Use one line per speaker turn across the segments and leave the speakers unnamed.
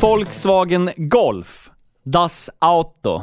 Volkswagen Golf, Das Auto,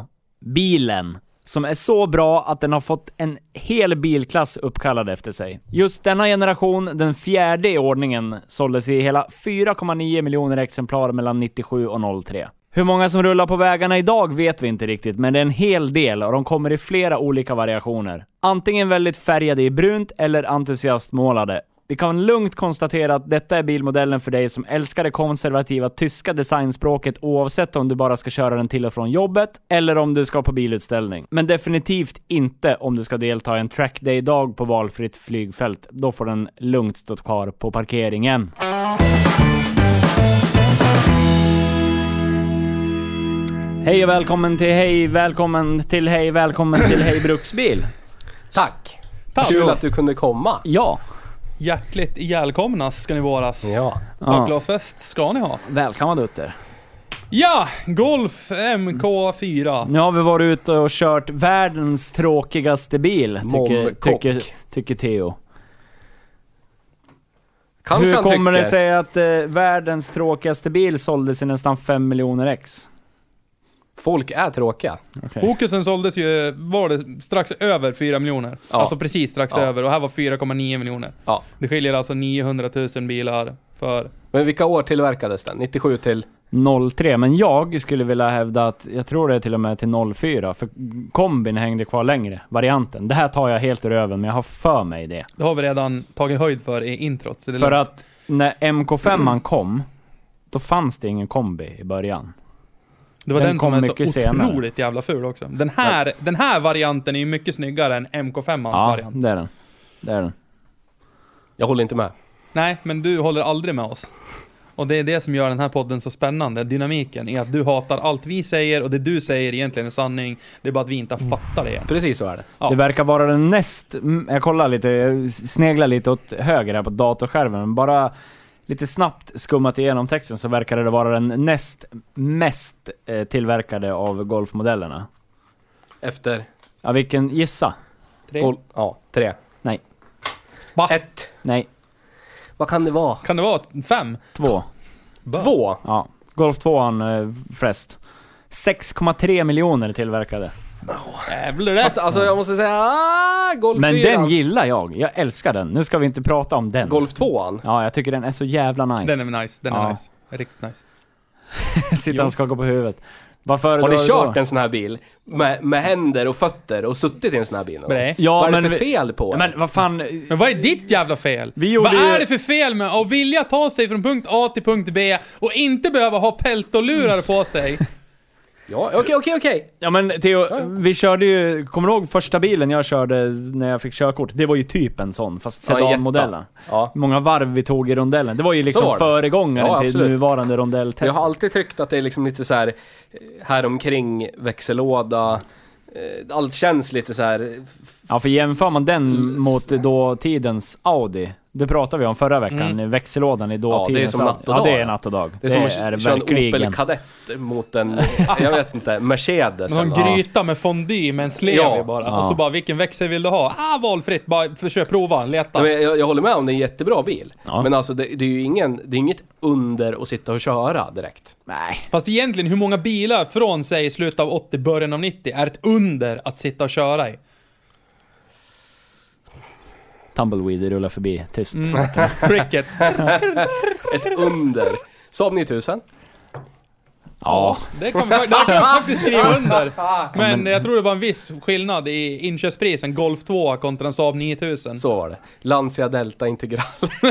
bilen, som är så bra att den har fått en hel bilklass uppkallad efter sig. Just denna generation, den fjärde i ordningen, såldes i hela 4,9 miljoner exemplar mellan 97 och 03. Hur många som rullar på vägarna idag vet vi inte riktigt, men det är en hel del och de kommer i flera olika variationer. Antingen väldigt färgade i brunt eller entusiastmålade. Vi kan lugnt konstatera att detta är bilmodellen för dig som älskar det konservativa tyska designspråket oavsett om du bara ska köra den till och från jobbet eller om du ska på bilutställning. Men definitivt inte om du ska delta i en trackday-dag på valfritt flygfält. Då får den lugnt stå kvar på parkeringen. Hej och välkommen till Hej, välkommen till Hej, välkommen till Hej Bruksbil.
Tack!
Tack.
Kul att du kunde komma.
Ja,
Hjärtligt ihjälkomna ska ni varas.
Ja.
Ja.
Och glasfest ska ni ha.
välkomna Dutter.
Ja, Golf MK4.
Nu har vi varit ute och kört världens tråkigaste bil, tycker,
Momkock.
tycker, tycker Theo.
Kanske
Hur
han
kommer
tycker.
det sig att eh, världens tråkigaste bil såldes i nästan 5 miljoner ex?
Folk är tråkiga.
Fokusen såldes ju, var det strax över 4 miljoner?
Ja.
Alltså precis strax
Ja.
över och här var 4,9 miljoner.
Ja.
Det skiljer alltså 900 000 bilar för...
Men vilka år tillverkades den? 97 till...
03, men jag skulle vilja hävda att, jag tror det är till och med till 04, för kombin hängde kvar längre, varianten. Det här tar jag helt ur öven, men jag har för mig det.
Det har vi redan tagit höjd för i introt. Så det är
För
lugnt.
att när MK5 an kom, då fanns det ingen kombi i början.
det var den, som
den kom
är så
mycket
otroligt
senare.
jävla ful också. Den här, den här varianten är ju mycket snyggare än MK5-ans
Ja,
variant.
det är den. Det är den.
Jag håller inte med.
Nej, men du håller aldrig med oss. Och det är det som gör den här podden så spännande, dynamiken, är att du hatar allt vi säger och det du säger egentligen är sanning. Det är bara att vi
Mm.
inte fattar det än.
Precis så är det.
Ja.
Det verkar vara den näst... mm, Jag kollar lite, jag sneglar lite åt höger här på datorskärmen. Bara lite snabbt skummat igenom texten så verkar det vara den näst mest eh, tillverkade av Golfmodellerna.
Efter...
Ja, vilken... Gissa?
Tre.
Gol- ja, tre.
Nej.
Va?
Ah.
Ett.
Nej.
Vad kan det vara?
Kan det vara fem?
Två.
Två.
Ja. Golf 2 an eh, flest. 6,3 miljoner tillverkade.
Jävlar det!
Fast alltså jag måste säga... Ah, golf
Men den
fyran.
gillar jag. Jag älskar den. Nu ska vi inte prata om den.
Golf tvåan.
Ja, jag tycker den är så jävla nice.
Den är nice, den är
Ja.
nice. Riktigt nice.
Sitter och skakar på huvudet. Vad
Har
föredrar
ni
du
kört
då?
en sån här bil? Med, med händer och fötter och suttit i en sån här bil? någon gång?
Nej.
Ja,
vad är det
men
för
vi-
fel på den?
Men vad fan,
Men vad är ditt jävla fel?
Vi gjorde
vad
ju-
är det för fel med att vilja ta sig från punkt A till punkt B och inte behöva ha peltolurar på sig?
Ja, okej, okej, okej.
Ja men Theo, vi körde ju, kommer du ihåg första bilen jag körde när jag fick körkort? Det var ju typ en sån, fast
Ja, en jätta.
sedanmodellen.
Ja.
Många varv vi tog i rondellen. Det var ju liksom
var det.
föregångaren
Ja,
till
absolut.
nuvarande
Jag
rondelltestet.
har alltid tyckt att det är liksom lite så här eh, här omkring växellåda. eh, Allt känns lite så här
Ja för jämför man
Mm,
den mot dåtidens Audi, det pratade vi om förra veckan, växellådan i dåtidens
Mm. Ja, det är
Audi.
som natt och dag.
Ja det är natt och dag.
Det är som att köra en Opel
verkligen.
Kadett mot en, jag vet inte, Mercedes.
Någon
eller-
gryta med fondue med en slev
Ja.
i bara. Och så bara, vilken växel vill du ha? Ah, valfritt. Bara försök prova, leta.
Ja, men jag, jag håller med om det är en jättebra bil.
Ja.
Men alltså det, det är ju ingen, det är inget under att sitta och köra direkt.
Nej.
Fast egentligen, hur många bilar från sig i slutet av 80, början av 90 är ett under att sitta och köra i?
Tumbleweed rullar förbi, tyst.
Mm.
Cricket.
Ett under. Saab 9000.
Ja.
Det kan, vi, det kan jag faktiskt skriva under. Men jag tror det var en viss skillnad i inköpspris, en Golf 2 kontra en Saab 9000.
Så var det. Lancia Delta Integral.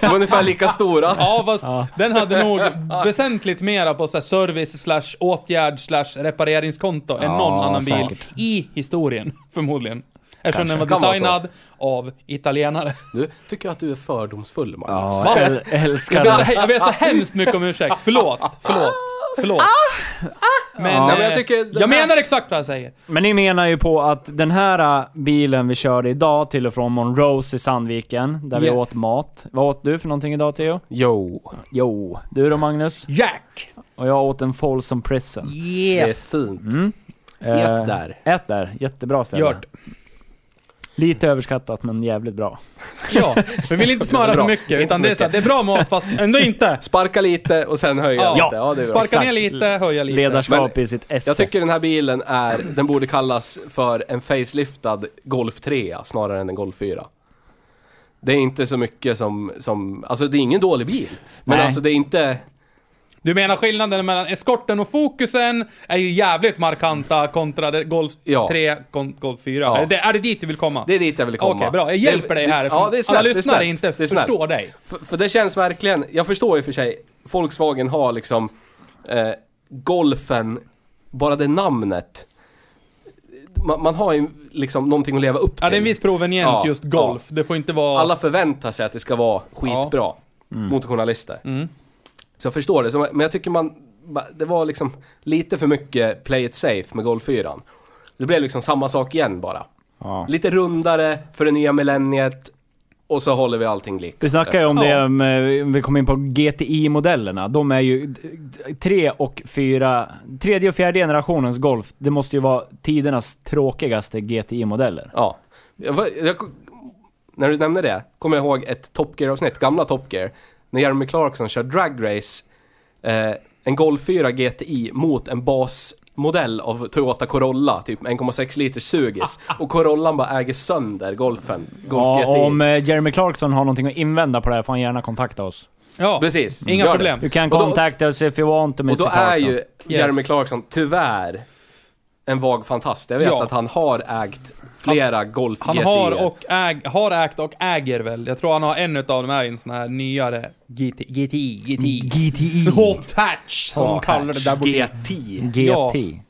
De var ungefär lika stora.
Ja, fast den hade nog väsentligt mera på så här service slash åtgärd slash repareringskonto än
Ja,
någon annan bil
säkert.
i historien, förmodligen. Eftersom den var
Kan vara så.
designad av italienare.
Du, tycker jag att du är fördomsfull Magnus.
Ja, äl-
Jag
älskar
ber,
det.
så, jag ber
Ah.
så hemskt mycket om ursäkt. Förlåt. Förlåt. Förlåt. Men,
Ah. Ja, men jag
jag,
tycker den
jag
här-
menar exakt vad jag säger.
Men ni menar ju på att den här äh, bilen vi körde idag till och från Monrose i Sandviken, där vi
Yes.
åt mat. Vad åt du för någonting idag Theo?
Jo,
Jo. Du då Magnus?
Jack!
Och jag åt en Folsom Prison.
det
Yeah.
är fint.
Eh,
Ett där.
Ett där. Jättebra ställe.
Gjort.
Lite överskattat men jävligt bra.
Ja, vi vill inte smöra för
Bra.
mycket.
Inte
Utan det är, så här, det är bra mat fast ändå inte.
Sparka lite och sen höja
Ja.
lite. Ja, det är bra.
Sparka ner
Exakt.
lite, höja lite.
Ledarskap
Men
i sitt esse.
Jag tycker den här bilen är, den borde kallas för en faceliftad Golf 3 snarare än en Golf 4. Det är inte så mycket som, som alltså det är ingen dålig bil. Men
Nej.
alltså det är inte,
Du menar skillnaden mellan eskorten och fokusen är ju jävligt markanta kontra det Golf
Ja.
3 kontra Golf 4.
Ja.
Är, det, är det dit du vill komma?
det är dit jag vill komma.
Okej, bra. Jag hjälper
Det-
dig
det-
här.
Ja, det är snällt.
Alla
det är
lyssnare
snällt,
inte
det är snällt.
förstår dig.
För, för det känns verkligen, jag förstår ju för sig, Volkswagen har liksom eh, Golfen, bara det namnet. Man, man har ju liksom någonting att leva upp till.
Ja, det är en viss proveniens
Ja,
just golf. Det får inte vara...
Alla förväntar sig att det ska vara skitbra mot journalister. Så jag förstår det. Så- Men jag tycker man... Det var liksom lite för mycket play it safe med Golf 4. Det blev liksom samma sak igen bara.
Ja.
Lite rundare för det nya millenniet och så håller vi allting likt.
Vi snackade ju om det, med- vi kom in på GTI-modellerna. De är ju d- d- tre och fyra, tredje och fjärde generationens Golf. Det måste ju vara tidernas tråkigaste GTI-modeller.
Ja. Jag, var- jag, när du nämnde det, kommer jag ihåg ett Top Gear-avsnitt, gamla Top Gear, när Jeremy Clarkson kör dragrace, eh, en Golf 4 GTI mot en basmodell av Toyota Corolla, typ 1,6 liters sugis. Och Corollan bara äger sönder Golfen. Golf
Ja,
GTI.
om eh, Jeremy Clarkson har någonting att invända på det här får han gärna kontakta oss.
Ja,
Precis.
Mm. Inga
Gör det.
problem.
You can
Och då-
contact us if you want to Mr.
Och då är
Clarkson.
ju Jeremy Clarkson tyvärr en vag fantast. Jag vet
Ja.
att han har ägt flera Golf
Han
GTI.
E.
har, och äg, har ägt och äger väl. Jag tror han har en utav dem är en sån här nyare GT, GTI, GTI.
GTI.
Hot hatch som de kallar det där borta.
GTI.
GT.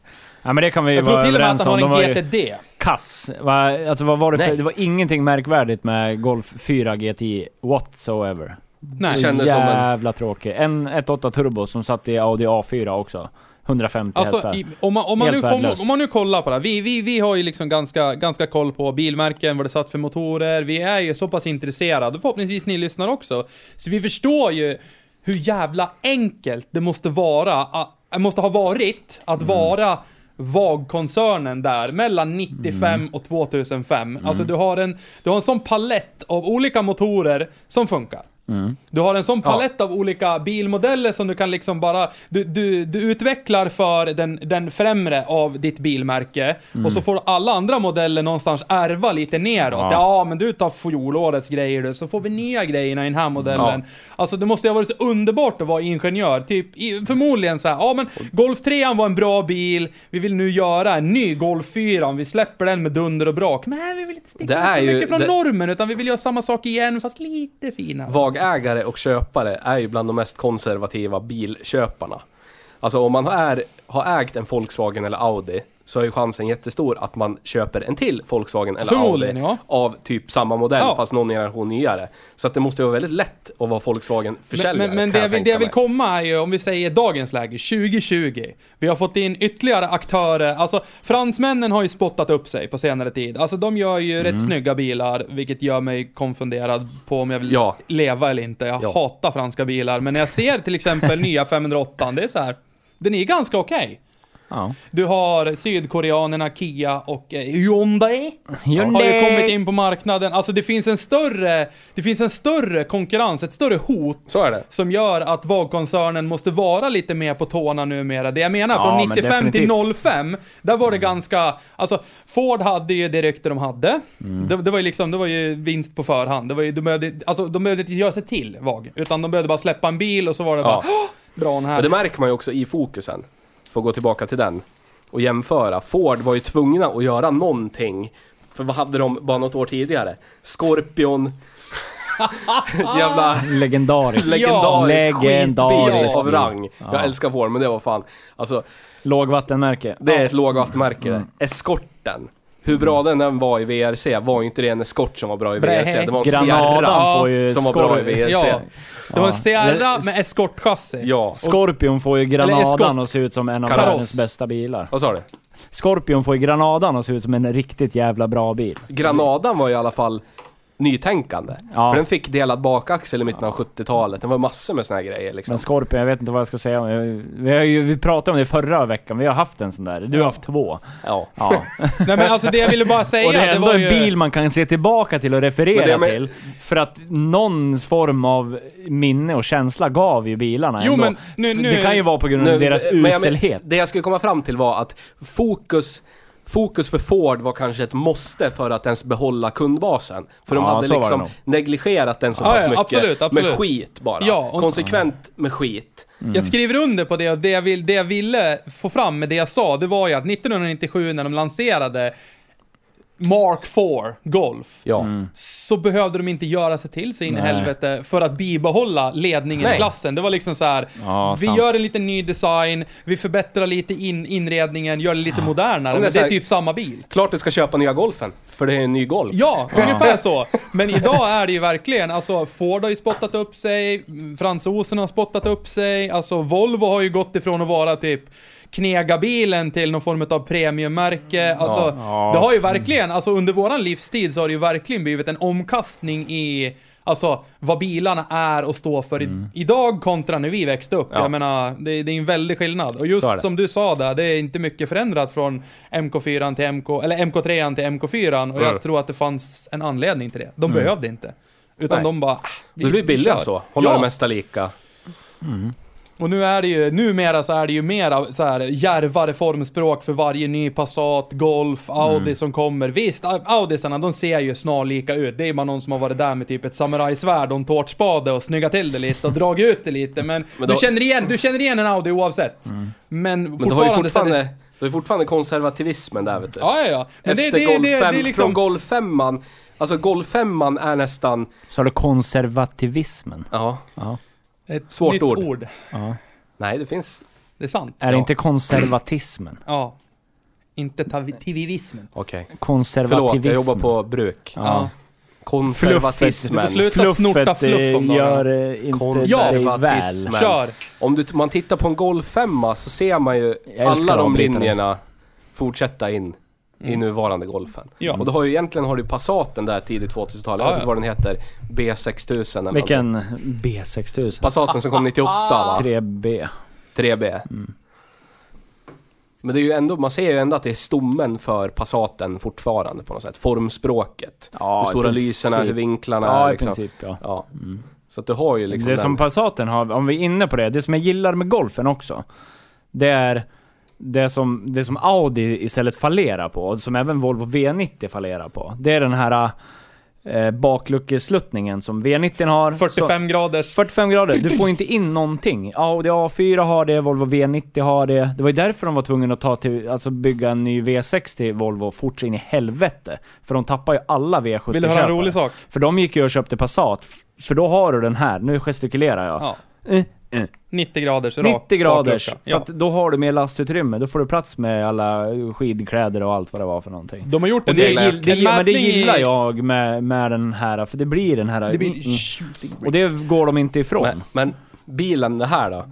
Ja. men det kan vi
E.
ju
Jag tror
vara
till och med att
överens om.
han
De
har
E. var
en
ju
GTD.
kass. Va? Alltså vad var det för...
Nej.
Det var ingenting märkvärdigt med Golf 4 GTI whatsoever.
Nej.
Så kändes som en-
jävla tråkig. En 1.8 turbo som satt i Audi A4 också. 150
Alltså,
hästar.
i, om, man, om, man
Helt
nu kom,
värdelöst.
om man nu kollar på det här. Vi, vi, vi har ju liksom ganska, ganska koll på bilmärken, vad det satt för motorer. Vi är ju så pass intresserade. Förhoppningsvis ni lyssnar också. Så vi förstår ju hur jävla enkelt det måste vara, a- måste ha varit, att
Mm.
vara VAG-koncernen där mellan 95
Mm.
och 2005. Alltså du har, en, du har en sån palett av olika motorer som funkar. Mm. Du har en sån palett av olika bilmodeller som du kan liksom bara... Du, du, du utvecklar för den, den främre av ditt bilmärke
Mm.
och så får alla andra modeller någonstans ärva lite neråt. Ja,
Ja.
men du tar fjolårets grejer du, så får vi nya grejerna i den här modellen. Alltså det måste ju ha varit så underbart att vara ingenjör. Typ i, förmodligen så här, ja men Golf 3 var en bra bil, vi vill nu göra en ny Golf 4, vi släpper den med dunder och brak. Men vi vill inte sticka
Det
ut så
är ju-
mycket från
det-
normen utan vi vill göra samma sak igen fast lite finare.
Vagägare och köpare är ju bland de mest konservativa bilköparna. Alltså om man är, har ägt en Volkswagen eller Audi så är ju chansen jättestor att man köper en till Volkswagen eller Audi
Förmodligen, ja.
av typ samma modell
Ja.
fast någon generation nyare. Så att det måste ju vara väldigt lätt att vara Volkswagen-försäljare.
Men, men, men
kan
det, jag vill,
tänka
det jag vill
mig.
komma är ju, om vi säger dagens läge, 2020. Vi har fått in ytterligare aktörer. Alltså, fransmännen har ju spottat upp sig på senare tid. Alltså, de gör ju
Mm.
rätt snygga bilar, vilket gör mig konfunderad på om jag vill
Ja.
leva eller inte. Jag
Ja.
hatar franska bilar, men när jag ser till exempel nya 508, det är så här. Den är ganska okej.
Ja.
Du har sydkoreanerna Kia och eh, Hyundai. Har ju
Hyundai.
kommit in på marknaden. Alltså det finns en större, det finns en större konkurrens, ett större hot
Så är det.
som gör att VAG-koncernen måste vara lite mer på tårna numera. Det jag menar,
Ja,
från
men
95 till
definitivt. Mm.
05, där var det ganska... Alltså, Ford hade ju det rykte de hade.
Mm.
Det, det var ju liksom, det var ju vinst på förhand. Det var ju, de, behövde, alltså, de behövde inte göra sig till VAG, utan de behövde bara släppa en bil och så var det
Ja.
bara "Åh, Bra den
Och det
här.
märker man ju också i fokusen. Får gå tillbaka till den och jämföra. Ford var ju tvungna att göra någonting. För vad hade de bara något år tidigare? Scorpion... jävla
Legendariskt.
legendarisk skitbil
Legendarisk
av
bil.
rang. Jag älskar Ford, men det var fan... Alltså,
Lågvattenmärke.
det är ett lågvattenmärke
Mm.
det. Eskorten. Hur bra den än var i VRC var ju inte det en eskort som var bra i
Brähä.
VRC. Det var en
Granadan
Sierra
får ju
som var bra i
skorv-
VRC.
Ja. Det var en
Ja.
Sierra
Det-
med eskortchassi.
Ja.
Scorpion får ju
eskort.
Granadan och se ut som en av
Kaross.
världens bästa bilar.
Vad sa du?
Scorpion får ju Granadan och se ut som en riktigt jävla bra bil.
Granadan var i alla fall nytänkande.
Ja.
För den fick delad bakaxel i mitten av 70-talet. Det var massor med såna här grejer liksom.
Men Scorpion, jag vet inte vad jag ska säga om det. Vi, har ju, vi pratade om det förra veckan, vi har haft en sån där. Du har haft två.
Ja.
Ja.
Nej men alltså det jag ville bara säga,
Och det är ändå
var
en bil man kan se tillbaka till och
Men det
referera
jag men-
till. För att någon form av minne och känsla gav ju bilarna
Jo,
ändå.
men nu- nu-
det kan ju vara på grund av
Nu-
deras
men jag men-
uselhet.
Det jag skulle komma fram till var att fokus Fokus för Ford var kanske ett måste för att ens behålla kundbasen. För de
Ja,
hade
så var det
liksom
nog.
negligerat den så
Ja,
pass
ja,
mycket.
absolut, absolut.
Med skit bara.
Ja, och-
Konsekvent med skit.
Mm.
Jag skriver under på det och det jag, vill, det jag ville få fram med det jag sa, det var ju att 1997 när de lanserade Mark 4 Golf,
Ja.
så behövde de inte göra sig till så in i
Nej.
helvete för att bibehålla ledningen
Nej.
i klassen. Det var liksom så här.
Ja,
vi
sant.
gör en liten ny design, vi förbättrar lite in, inredningen, gör det lite modernare.
det är
Men
så
det är
här-
typ samma bil.
Klart du ska köpa nya golfen. För det är en ny golf.
Ja, ungefär så. Men idag är det ju verkligen, alltså Ford har ju spottat upp sig, fransoserna har spottat upp sig, alltså Volvo har ju gått ifrån att vara typ knegabilen till någon form av premiummärke.
Mm.
Alltså,
Ja.
det har ju verkligen, alltså under våran livstid så har det ju verkligen blivit en omkastning i Alltså vad bilarna är och står för i,
Mm.
idag kontra när vi växte upp. Jag menar, det, det är en väldig skillnad. Och
Så är
just
det.
som du sa där, det är inte mycket förändrat från MK4 till MK, eller MK3 till MK4 och
Mm.
jag tror att det fanns en anledning till det. De behövde inte. Utan
Nej.
de bara... ah, vi-
Det blir
vi
billigare
kör.
så. Hålla
ja,
det mesta lika.
och nu är det ju, numera så är det ju mera så här djärvare formspråk för varje ny Passat, Golf, Audi
Mm.
som kommer. Visst, A- Audisarna de ser ju snarlika ut. Det är bara någon som har varit där med typ ett samurajsvärd och en tårtspade och snyggat till det lite och dragit ut det lite. Men,
Men då- Mm.
du, känner igen, du känner igen en Audi oavsett. Men,
Men du har ju
så är det-
fortfarande, du har ju fortfarande konservativismen där vet du.
Ja, ja, ja. Men det,
Efter
det, det,
golf
det, det är
fem- Från
liksom...
golf femman, alltså golf femman är nästan,
Så har du konservativismen.
ja,
Ett
Svårt
nytt
ord.
ord.
nej det finns,
Det är sant.
Är det
Ja.
inte konservatismen?
Ja. Inte tavivismen.
okej.
Konservativism.
Förlåt, jag jobbar på bruk.
Ja.
Konservatismen.
Du får sluta snorta fluff om
eh,
dagarna.
gör eh, inte
Ja.
dig väl.
Konservatismen. Men-
Kör!
Om du, man tittar på en golf femma så ser man ju alla
älskar
de
avbrytare.
linjerna fortsätta in i nuvarande golfen.
Mm. Ja.
Och då har ju egentligen har du Passaten där tidigt 2000-tal, jag
Ja,
vet inte
ja.
vad den heter, B6000 eller något.
Vilken B6000?
Passaten som kom 98 va?
3B.
3B.
Mm.
Men det är ju ändå, man ser ju ändå att det är stommen för Passaten fortfarande på något sätt. Formspråket.
Ja,
hur
i
stora
princip.
lyserna, hur vinklarna
Ja,
är
i
liksom.
princip ja. Mm.
Ja. Så att du har ju liksom
det
den.
som Passaten har, om vi är inne på det, det som jag gillar med golfen också. Det är det som, det som Audi istället fallerar på, och som även Volvo V90 fallerar på. Det är den här eh, bakluckesluttningen som V90 har.
45 graders.
Så, 45 grader, du får inte in någonting. Audi A4 har det, Volvo V90 har det. Det var ju därför de var tvungna att ta till, alltså bygga en ny V60 Volvo fort så in i helvete. För de tappar ju alla V70-köpare.
Vill du höra en rolig sak?
För de gick ju och köpte Passat, f- för då har du den här. Nu gestikulerar jag.
Ja.
Eh, eh.
90 graders rak
90 graders.
baklucka.
För
Ja.
att då har du mer lastutrymme. Då får du plats med alla skidkläder och allt vad det var för någonting.
De har gjort
Och
en
det,
del-
gill, det,
en
gill- men det
mätning i-
gillar jag med, med den här, för det blir den här...
Det blir
Mm, mm. Och det går de inte ifrån.
men, men bilen, det här då?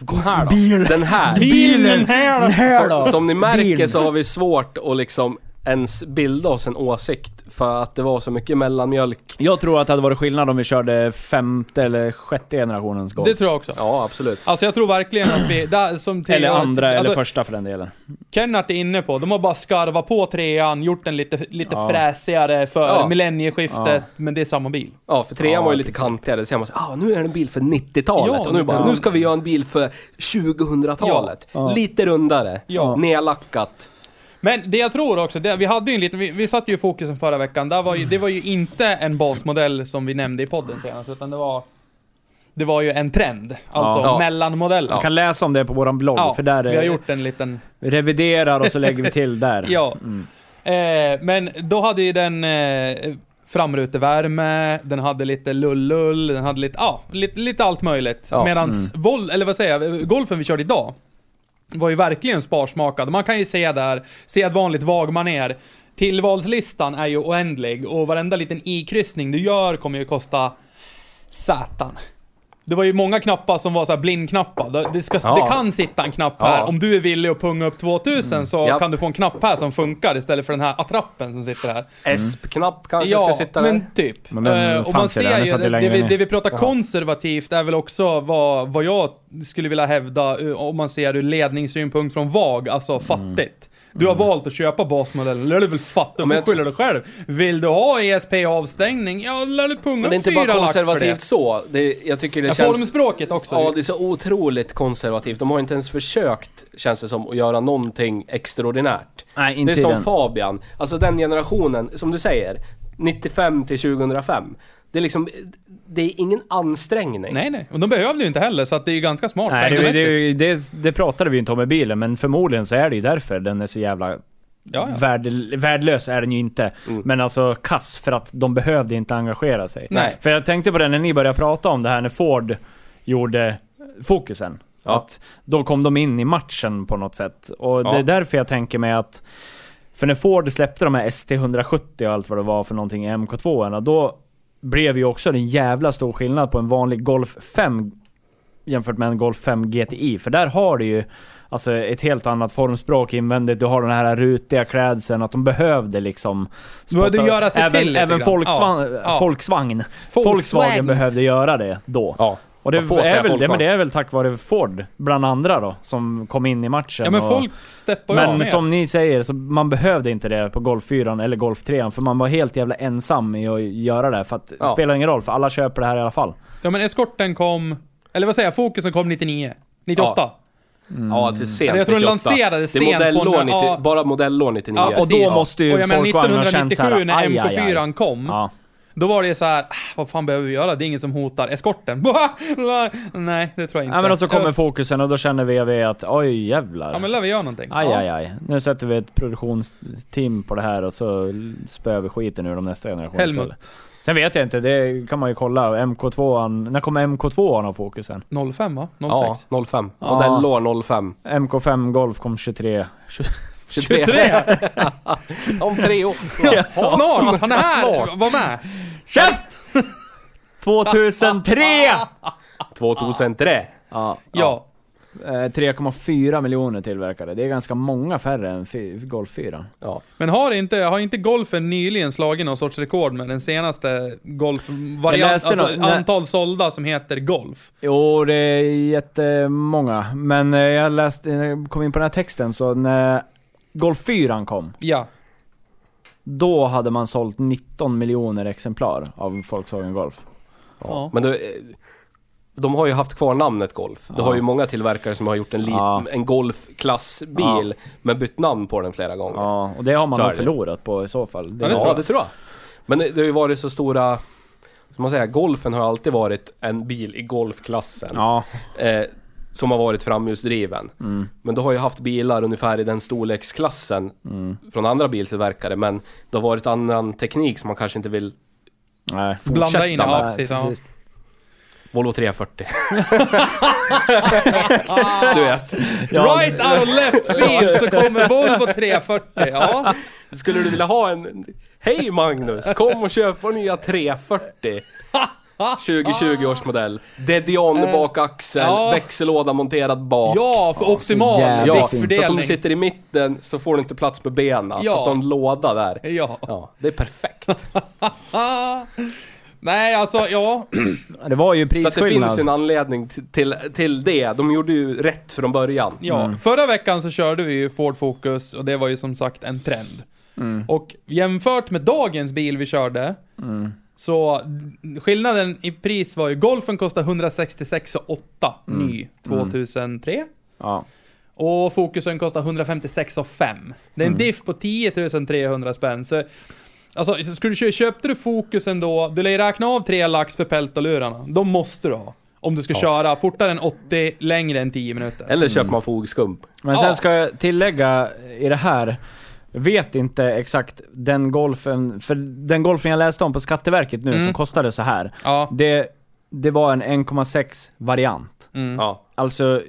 Gå här då. Den här.
Bilen här då.
Så, som ni märker
Bilen.
så har vi svårt att liksom ens bilda oss en åsikt för att det var så mycket mellanmjölk.
Jag tror att det hade varit skillnad om vi körde femte eller sjätte generationens golf.
Det tror jag också.
Ja, absolut.
Alltså jag tror verkligen att vi... Där, som till-
eller andra,
alltså,
eller första för den delen.
Kennart är inne på, de har bara skarvat på trean, gjort den lite, lite
Ja.
fräsigare för
Ja.
millennieskiftet, men det är samma bil.
Ja, för trean
Ja,
var ju lite kantigare. Då ser man så, ah, nu är det en bil för 90-talet.
Ja,
och nu bara,
ja.
nu ska vi göra en bil för 2000-talet.
Ja.
Lite rundare.
Ja.
Nedlackat.
Men det jag tror också, det, vi hade ju en liten, vi, vi satt ju i fokusen förra veckan, där var ju, det var ju inte en basmodell som vi nämnde i podden senast, utan det var... det var ju en trend. Alltså
Ja.
mellanmodellen.
Du kan läsa om det på våran blogg,
Ja,
för där
vi har
eh,
gjort en liten...
reviderar och så lägger vi till där.
Ja.
Mm.
Eh, men då hade ju den eh, framrutevärme, den hade lite lullull, den hade lite, ja, lite, lite allt möjligt.
Ja, mm.
Medans vol, eller vad säger jag, golfen vi körde idag var ju verkligen sparsmakad. Man kan ju se där, sedvanligt vagmanér. Tillvalslistan är ju oändlig och varenda liten ikryssning du gör kommer ju kosta satan. Det var ju många knappar som var så här blindknappar. Det- Det, ska,
Ja.
det kan sitta en knapp här.
Ja.
Om du är villig att punga upp 2000 så
Japp.
kan du få en knapp här som funkar istället för den här attrappen som sitter här.
ESP-knapp kanske
Mm. ja,
ska sitta där.
men typ.
Men den
Eh,
fanns
och man
ju där,
ser
den
ju,
satt ju
det,
längre
vi,
ner.
det vi pratar konservativt är väl också vad, vad jag skulle vilja hävda eh, om man ser ur ledningssynpunkt från VAG, alltså
Mm.
fattigt. Du har valt att köpa basmodellen, då är du väl fattig och
men
får
jag-
skylla dig själv. Vill du ha ESP-avstängning, ja då lär du punga
Men det är
upp
inte
fyra
bara
lax för
konservativt
det.
så. Det, jag tycker det
Ja,
känns...
Formspråket också.
Ja, det är så otroligt konservativt. De har inte ens försökt, känns det som, att göra någonting extraordinärt.
Nej, inte
det är som
i den.
Fabian. Alltså den generationen, som du säger, 95 till 2005. Det är liksom... Det är ingen ansträngning.
Nej, nej. Och de behövde ju inte heller, så att det är ju ganska smart.
Nej, det,
pengamässigt.
det, det, det pratade vi ju inte om med bilen, men förmodligen så är det ju därför den är så jävla...
Ja, Mm. ja.
Värd, värdelös är den ju inte, men alltså kass för att de behövde inte engagera sig.
Nej.
För jag tänkte på det när ni började prata om det här när Ford gjorde fokusen.
Ja.
Att då kom de in i matchen på något sätt. Och det
Ja.
är därför jag tänker mig att... För när Ford släppte de här ST170 och allt vad det var för någonting i MK2, då blev ju också en jävla stor skillnad på en vanlig Golf 5 jämfört med en Golf 5 GTI. För där har du ju alltså, ett helt annat formspråk invändigt. Du har den här rutiga klädseln, att de behövde liksom...
Behövde
spotta-
göra sig
även,
till lite
Även
grann.
Volkswagen,
Ja, ja.
Volkswagen.
Volkswagen.
Volkswagen behövde göra det då.
Ja.
Och det
Man får säga
är, väl, det, men
Volkswagen.
det är väl tack vare Ford, bland andra då, som kom in i matchen.
Ja, men
och-
folk steppar ju av
men
med.
som ni säger, så man behövde inte det på Golf 4 eller Golf 3 för man var helt jävla ensam i att göra det. För att det
Ja.
spelar ingen roll, för alla köper det här i alla fall.
Ja, men eskorten kom... Eller vad säger jag? Fokusen kom 99. 98. Ja.
Ja, till sent
Jag tror den
98.
lanserades
det är
sent
modellår
på en-
90,
ja.
Bara modellår 99.
Ja,
Och då
precis.
måste ju
Och jag menar
folkvagnen ha känt
1997
såhär,
när
aj, aj,
MK4
aj.
kom.
Ja.
Då var det så här, "Ah, vad fan behöver vi göra? Det är ingen som hotar eskorten. Nej, det tror jag inte.
ja men och så kommer
Ja,
fokusen och då känner VW att oj jävlar.
Ja, men lär vi göra någonting.
Aj,
Ja.
aj, aj. Nu sätter vi ett produktionsteam på det här och så spöar vi skiten ur dem nästa generation
Helmut.
istället. Sen vet jag inte, det kan man ju kolla. MK2, när kom MK2 av fokusen?
05 va? 06?
Ja, 05.
Ja.
Modellår 05.
MK5 Golf kom 23.
23.
23!
Om tre år.
Snart! Han är här! Var med!
Käft! 2003!
2003.
Ja,
Ja.
eh, 3,4 miljoner tillverkade. Det är ganska många färre än fy- Golf 4.
Ja.
Men har inte, har inte golfen nyligen slagit någon sorts rekord med den senaste
Jag
golfvarianten?
läste
Alltså
nå- nä-
antal sålda som heter golf.
Jo, det är jättemånga. Men eh, jag läste, när jag kom in på den här texten, så när Golf 4 kom,
Ja.
då hade man sålt 19 miljoner exemplar av Volkswagen Golf.
Ja.
Men du, eh, de har ju haft kvar namnet Golf. Det
Ja.
har ju många tillverkare som har gjort en, lit,
Ja.
en Golf-klassbil, men bytt namn på den flera gånger. Ja,
Ja, och det har man
Så är
nog
det.
förlorat på i så fall.
Ja, det tror
det tror jag. Men det, det har ju varit så stora... Som man säger, Golfen har alltid varit en bil i Golfklassen.
Ja,
Eh, som har varit framhjulsdriven.
Mm.
Men du har ju haft bilar ungefär i den storleksklassen
Mm.
från andra biltillverkare, men det har varit annan teknik som man kanske inte vill...
nej.
Blanda in, ja
med-
precis. Ja.
Volvo 340. du vet.
Ja,
Right out of left field så kommer Volvo 340. Ja.
Skulle du vilja ha en... Hej Magnus! Kom och köp vår nya 340. 2020 års modell. Dedion bakaxel,
Eh, ja.
växellåda monterad bak.
ja, för optimal
jävla
Ja, så att de
viktfördelning.
sitter i mitten så får du inte plats med benen.
Ja.
Så att de har en låda där.
Ja.
Ja, det är perfekt.
Ah. Nej, alltså ja.
Det var ju
Så att det
prisskillnad.
finns ju en anledning t- till, till det. De gjorde ju rätt från början.
ja. Förra veckan så körde vi ju Ford Focus och det var ju som sagt en trend. Och jämfört med dagens bil vi körde, så skillnaden i pris var ju Golfen kostade 166 8 ny 2003.
Ja.
Och fokusen kostar 156 och 5. Det är en
Mm.
diff på 10 300 spänn. Så, alltså, så skulle du, kö- köpte du fokusen då, du lär ju räkna av 3 lax för peltolurarna. De måste du ha. Om du ska köra fortare än 80, längre än 10 minuter.
Eller köper man fogskump.
Men sen
Ja.
ska jag tillägga i det här, vet inte exakt den golfen, för den golfen jag läste om på Skatteverket nu
Mm.
som kostade så här.
Ja.
Det, det var en 1,6 variant.
Mm.
Ja.
Alltså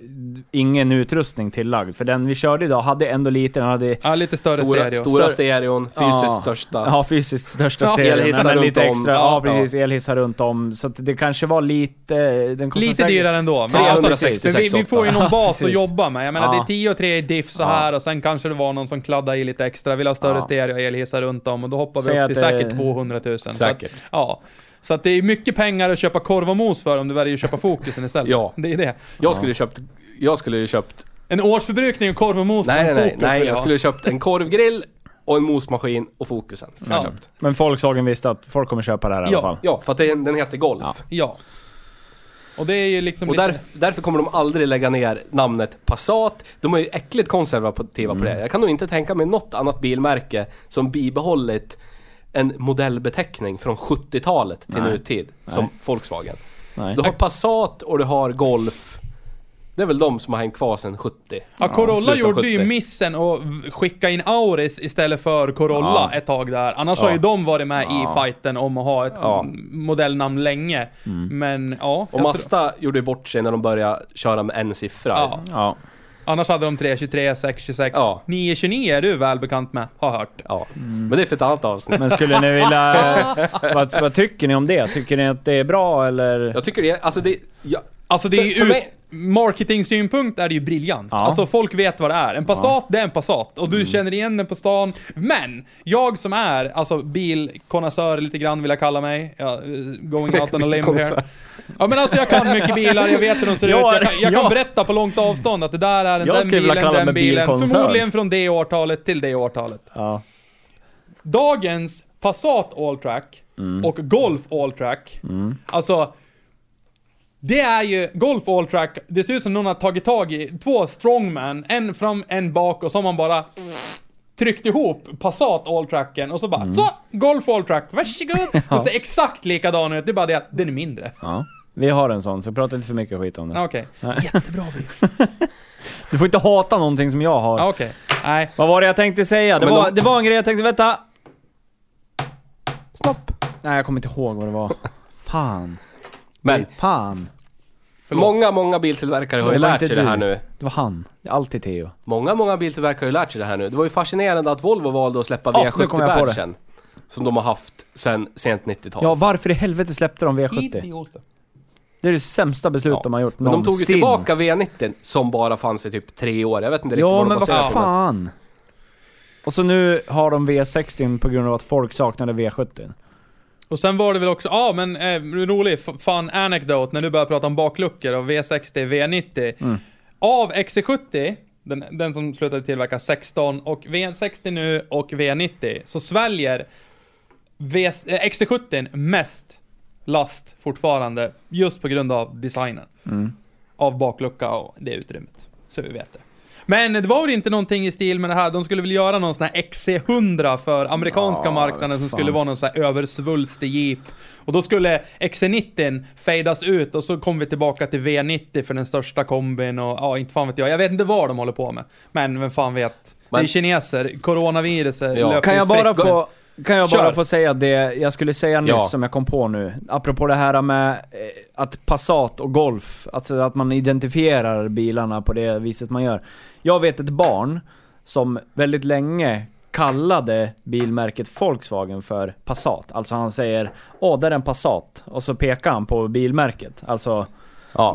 ingen utrustning tillagd. För den vi körde idag hade ändå lite, den hade
ja, lite större
Stora,
stereo.
stora stereon, fysiskt
Ja.
största.
ja, fysiskt största
Ja,
stereon.
elhissar
men
runt
lite
om.
extra.
Ja,
Ja, precis. Elhissar runt om. Så att det kanske var lite... Den kostade
Lite
säkert-
dyrare ändå. Men, alltså,
366
men vi, vi får ju någon bas
precis.
att jobba med. Jag menar,
Ja.
det är 10 och 3 i diff så
Ja.
här och sen kanske det var någon som kladdade i lite extra, vill ha större
Ja.
stereo, elhissar runt om och då hoppar vi
Säg
upp
att
till
det-
säkert 200 000.
Säkert.
Så att, ja. Så att det är mycket pengar att köpa korv och mos för om du väljer att köpa fokusen istället.
Ja.
Det är det.
Jag skulle ju köpt... Jag skulle ju köpt...
En årsförbrukning av korv och mos
Nej, nej,
från
nej.
fokus
nej
vill
jag
ha.
skulle ju köpt en korvgrill och en mosmaskin och fokusen. Skulle
Ja.
jag köpt.
Men Volkswagen visste att folk kommer köpa det här i
Ja.
alla fall.
Ja, för att den, den heter Golf.
Ja.
Ja. Och det är ju liksom
Och
lite-
där, därför kommer de aldrig lägga ner namnet Passat. De är ju äckligt konservativa på
Mm.
det. Jag kan nog inte tänka mig något annat bilmärke som bibehållit en modellbeteckning från 70-talet till
Nej.
nutid. Som
Nej.
Volkswagen.
Nej.
Du har Passat och du har Golf. Det är väl de som har hängt kvar sedan 70.
Ja, Corolla
slutet av
gjorde ju
70.
missen och v- skicka in Auris istället för Corolla ett tag där. Annars har ju de varit med i fighten om att ha ett
Ja. Mm.
m- modellnamn länge. Men ja,
Och
jag
Mazda gjorde ju bort sig när de började köra med en siffra.
tror- ja.
Ja.
Annars hade de 323, 626.
Ja.
929 är du väl bekant med, har hört.
Ja.
Mm.
Men det är för ett annat avsnitt.
Men skulle ni vilja... vad, vad tycker ni om det? Tycker ni att det är bra eller?
Jag tycker det, är- alltså det, jag,
Alltså det är ju
För- för
ut...
mig-
Marketing-synpunkt är det ju briljant.
Ja. Mm.
Alltså folk vet vad det är. En Passat, det är en Passat. Och du känner igen den på stan. Men! Jag som är, alltså bilkonnässör lite grann vill jag kalla mig. Ja, eh, going out on a limb here. Ja men alltså jag kan mycket bilar, jag vet hur de ser
Ja,
ut. Jag kan, jag kan
ja.
berätta på långt avstånd att det där är en,
Jag
den
skulle vilja
bilen,
kalla
den
mig
bilen.
bilkonnässör.
Förmodligen från det årtalet till det årtalet.
Ja.
Dagens Passat Alltrack
Mm.
och Golf Alltrack. Alltså, det är ju Golf Alltrack. Det ser ut som någon har tagit tag i två strongman, en fram, en bak och så har man bara tryckt ihop Passat Alltracken och så
Mm.
bara så! Golf Alltrack, varsågod! Det ser exakt likadan ut, det är bara det att den är mindre.
ja. Vi har en sån, så prata inte för mycket skit om det.
Ja, Okej. Jättebra bil.
Du får inte hata någonting som jag har.
Ja, Okej. Nej.
Vad var det jag tänkte säga? Det,
men
var,
de-
det var en grej jag tänkte... Vänta!
Stopp.
Nej, jag kommer inte ihåg vad det var. Fan.
Men
Fan.
många, många biltillverkare har ju
Det var
lärt
inte
sig det här
du.
nu.
Det var han. Det är alltid Theo.
Många, många biltillverkare har ju lärt sig det här nu. Det var ju fascinerande att Volvo valde att släppa
Ja, nu kom jag på det.
V70-badgen. Som de har haft sen sent 90-tal.
Ja, varför i helvete släppte de V70?
Idioter.
Det är det sämsta beslut de har gjort
Men de tog ju
någonsin.
tillbaka V90 som bara fanns i typ tre år. Jag vet inte riktigt
Ja,
vad de
men vad
baserar på. men-
fan. Och så nu har de V60 på grund av att folk saknade V70.
Och sen var det väl också, ja ah, men eh, rolig f- fun anecdote när du började prata om bakluckor och V60, V90. Av XC70, den, den som slutade tillverka 16 och V60 nu och V90, så sväljer v, eh, XC70 mest last fortfarande just på grund av designen.
Mm.
Av baklucka och det utrymmet. Så vi vet det. Men det var väl inte någonting i stil med det här, de skulle väl göra någon sån här XC100 för amerikanska
Ja,
marknaden
vet
som
fan.
skulle vara någon sån här översvulstig jeep. Och då skulle XC90 fadas ut och så kom vi tillbaka till V90 för den största kombin och ja, inte fan vet jag. Jag vet inte vad de håller på med. Men vem fan vet. det är
Men-
kineser, coronaviruset
Ja.
löper
Kan jag
fritt.
bara få... Kan jag
Kör.
bara få säga det jag skulle säga nyss
Ja.
som jag kom på nu? Apropå det här med eh, att Passat och Golf, alltså att man identifierar bilarna på det viset man gör. Jag vet ett barn som väldigt länge kallade bilmärket Volkswagen för Passat. Alltså han säger Åh, där är en Passat. Och så pekar han på bilmärket. Alltså,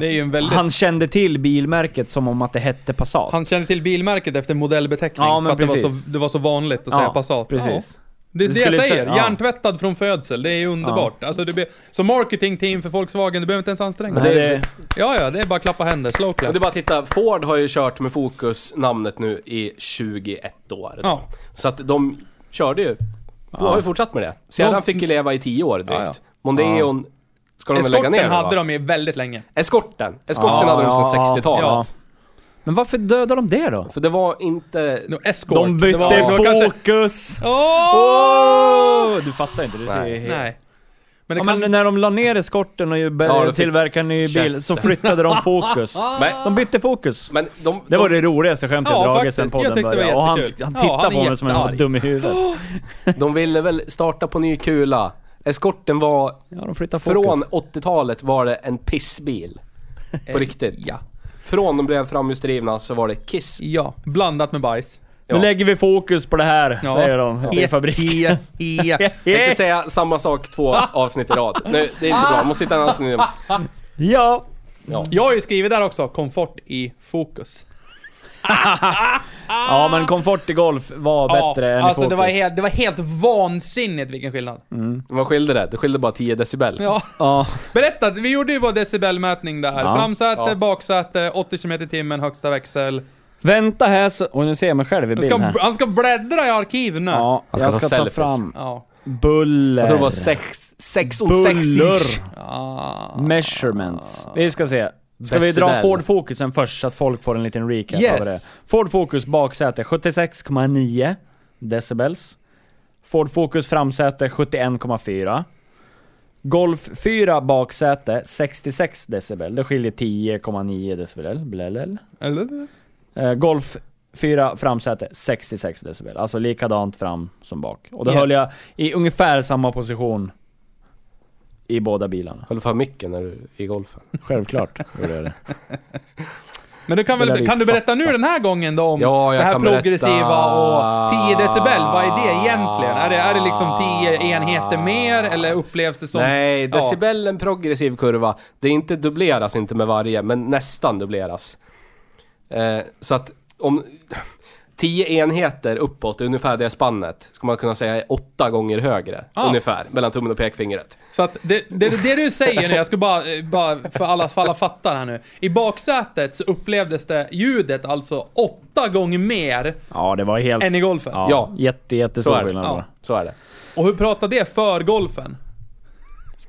Det är ju en väldigt... Han,
han kände till bilmärket som om att det hette Passat.
känner till bilmärket efter modellbeteckning
Ja,
för
men
att det var,
precis.
så, det var så vanligt att säga Passat.
Precis.
Ja. Det är det,
Det
jag
skulle
säger.
sä- ja.
Hjärntvättad från födsel. Det är ju underbart. Alltså, det blir, som marketingteam för Volkswagen, du behöver inte ens anstränga
Men
dig.
det,
Ja, ja, det är bara klappa händer. Slow
Men
clap.
det är bara att titta, Ford har ju kört med fokus namnet nu i 21 år.
Ja.
Så att de körde ju. De har ju fortsatt med det. Sedan
De-
fick ju leva i 10 år drygt.
Ja, ja.
Mondeon ska de väl lägga
Eskorten
ner nu, va?
hade de ju väldigt länge.
Eskorten. Eskorten
Ja,
hade de sedan
ja,
60-talet.
ja.
men varför dödar de det då?
För det var inte...
No, Escort.
De bytte
det var, det var kanske-
fokus!
Åh!
Du fattar inte, du
Nej.
ser ju helt...
Nej. Men det
Ja,
kan...
men när de la ner eskorten och
Ja,
började
då fick-
tillverka en ny bil
Käften.
så flyttade de fokus.
Men,
De bytte fokus.
men de,
Det var
de,
det roligaste skämtet
Ja,
jag dragit
faktiskt.
sen
Jag
podden
tyckte det var
började. Och han, han
jättekul.
tittade
Ja, han är
på mig som om jag var
jättearg.
dum i huvudet.
de ville väl starta på ny kula. Eskorten var...
Ja, de flyttade fokus.
Från 80-talet var det en pissbil. På riktigt.
Ja.
Från de blev framhjulsdrivna så var det Kiss.
Ja, blandat med bajs.
Ja.
Nu lägger vi fokus på det här,
Ja.
säger de i fabriken.
Ja, ja, ja.
Jag tänkte säga samma sak två avsnitt i rad. Nu, det är inte bra, jag måste hitta en annan synonym.
Ja.
Ja.
Jag har ju skrivit där också, komfort i fokus.
ja, men komfort i golf var bättre än i
alltså
fokus. Mm.
det var, helt, det var helt vansinnigt vilken skillnad.
Vad skilde det? Det skilde bara 10 decibel.
Ja.
Ja.
Berätta, vi gjorde ju vår decibelmätning där.
Ja.
Framsäte,
Ja.
baksäte, 80 km i timmen, högsta växel.
Vänta här så... Och nu ser jag mig själv i
Han ska,
bild här.
han ska bläddra i arkiven nu. Ja.
Ja,
Han ska
jag
ta
ska ta
selfies.
fram
Ja.
buller.
Jag tror det var sex, sex Ah. och
Eh. Buller.
sex
Measurements. Vi ska se. Ska vi dra
Decibel.
Ford Focusen först så att folk får en liten recap
Yes.
av det. Ford Focus baksäte 76,9 decibels. Ford Focus framsäte 71,4. Golf 4 baksäte 66 decibel. Det skiljer 10,9 decibel. Blalala.
Eller?
Eh, Golf 4 framsäte 66 decibel. Alltså likadant fram som bak. Och då
Yes.
höll jag i ungefär samma position i båda bilarna.
Höll för mycket när du i golfen.
Självklart gjorde jag det.
Men du kan,
Det lär
väl,
vi
kan du berätta nu
fatta.
den här gången då om
Ja, jag
det här
kan
progressiva
berätta.
och 10 decibel? Vad är det egentligen? Är det, är det liksom 10 enheter mer eller upplevs det som...
Nej,
Ja.
decibel en progressiv kurva. Det är inte dubbleras inte med varje, men nästan dubbleras. Eh, så att om 10 enheter uppåt, är ungefär det spannet, ska man kunna säga är åtta gånger högre.
Ja.
Ungefär, mellan tummen och pekfingret.
Så att det, det, det du säger nu, jag ska bara, eh, bara för alla, för alla fattar här nu. I baksätet så upplevdes det ljudet alltså åtta gånger mer
Ja, det var helt...
än i golfen.
Ja,
Ja.
jätte,
Så
jättestor
är det.
skillnad
Ja.
bara.
Så är det.
Och hur pratar det för golfen?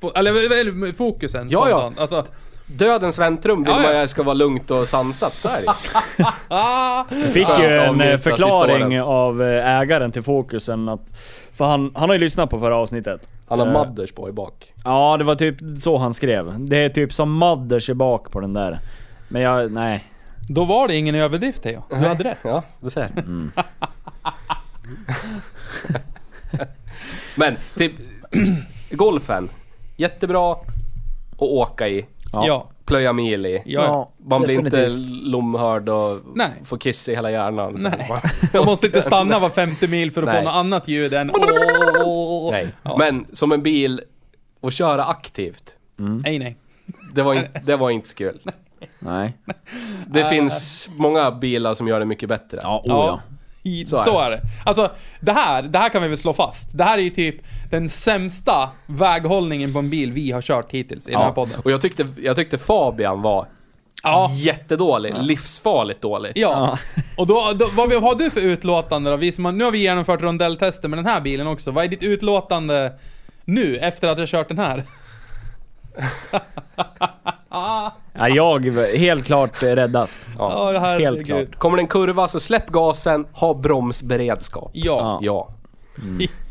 Spo- eller vad- vad är det med fokusen?
Ja, ja.
spontant? Alltså,
Dödens väntrum vill
Ja, ja.
man ju ska vara lugnt och sansat, så är det
ah,
Jag fick
Skönt
ju en eh,
att avbryta
förklaring
sista
av eh, ägaren till Focusen att... För han, han har ju lyssnat på förra avsnittet.
Han har
Eh,
mothers på i bak.
Ja, det var typ så han skrev. Det är typ som mothers i bak på den där. Men jag, nej.
då var det ingen överdrift Theo. Du hade rätt.
Ja, du ser. Men, typ, golfen. Jättebra att åka i,
Ja. ja.
plöja mil i.
ja.
Man blir inte
definitivt.
lomhörd och
Nej.
får kiss i hela hjärnan. Så
Nej.
man-
Man måste inte stanna var 50 mil för att
Nej.
få något annat ljud än åh.
Nej.
Ja.
Men som en bil, och köra aktivt.
Nej, nej.
Det var, inte, det var inte så kul.
Nej.
Det finns många bilar som gör det mycket bättre.
Ja, oh, ja.
Ja. I,
Så
så,
är
är det. Alltså, det här, det här kan vi väl slå fast. Det här är ju typ den sämsta väghållningen på en bil vi har kört hittills i den här podden.
Och jag tyckte, jag tyckte Fabian var
Ja.
jättedålig. Livsfarligt dålig.
Ja. Och då, då, vad vi- har du för utlåtande då? Vi som har, nu har vi genomfört rondelltester med den här bilen också. Vad är ditt utlåtande nu, efter att jag kört den här?
ja. Jag var helt klart eh, räddast.
Ja, herregud.
klart.
Kommer det en kurva så släpp gasen, ha bromsberedskap.
Ja.
Ja.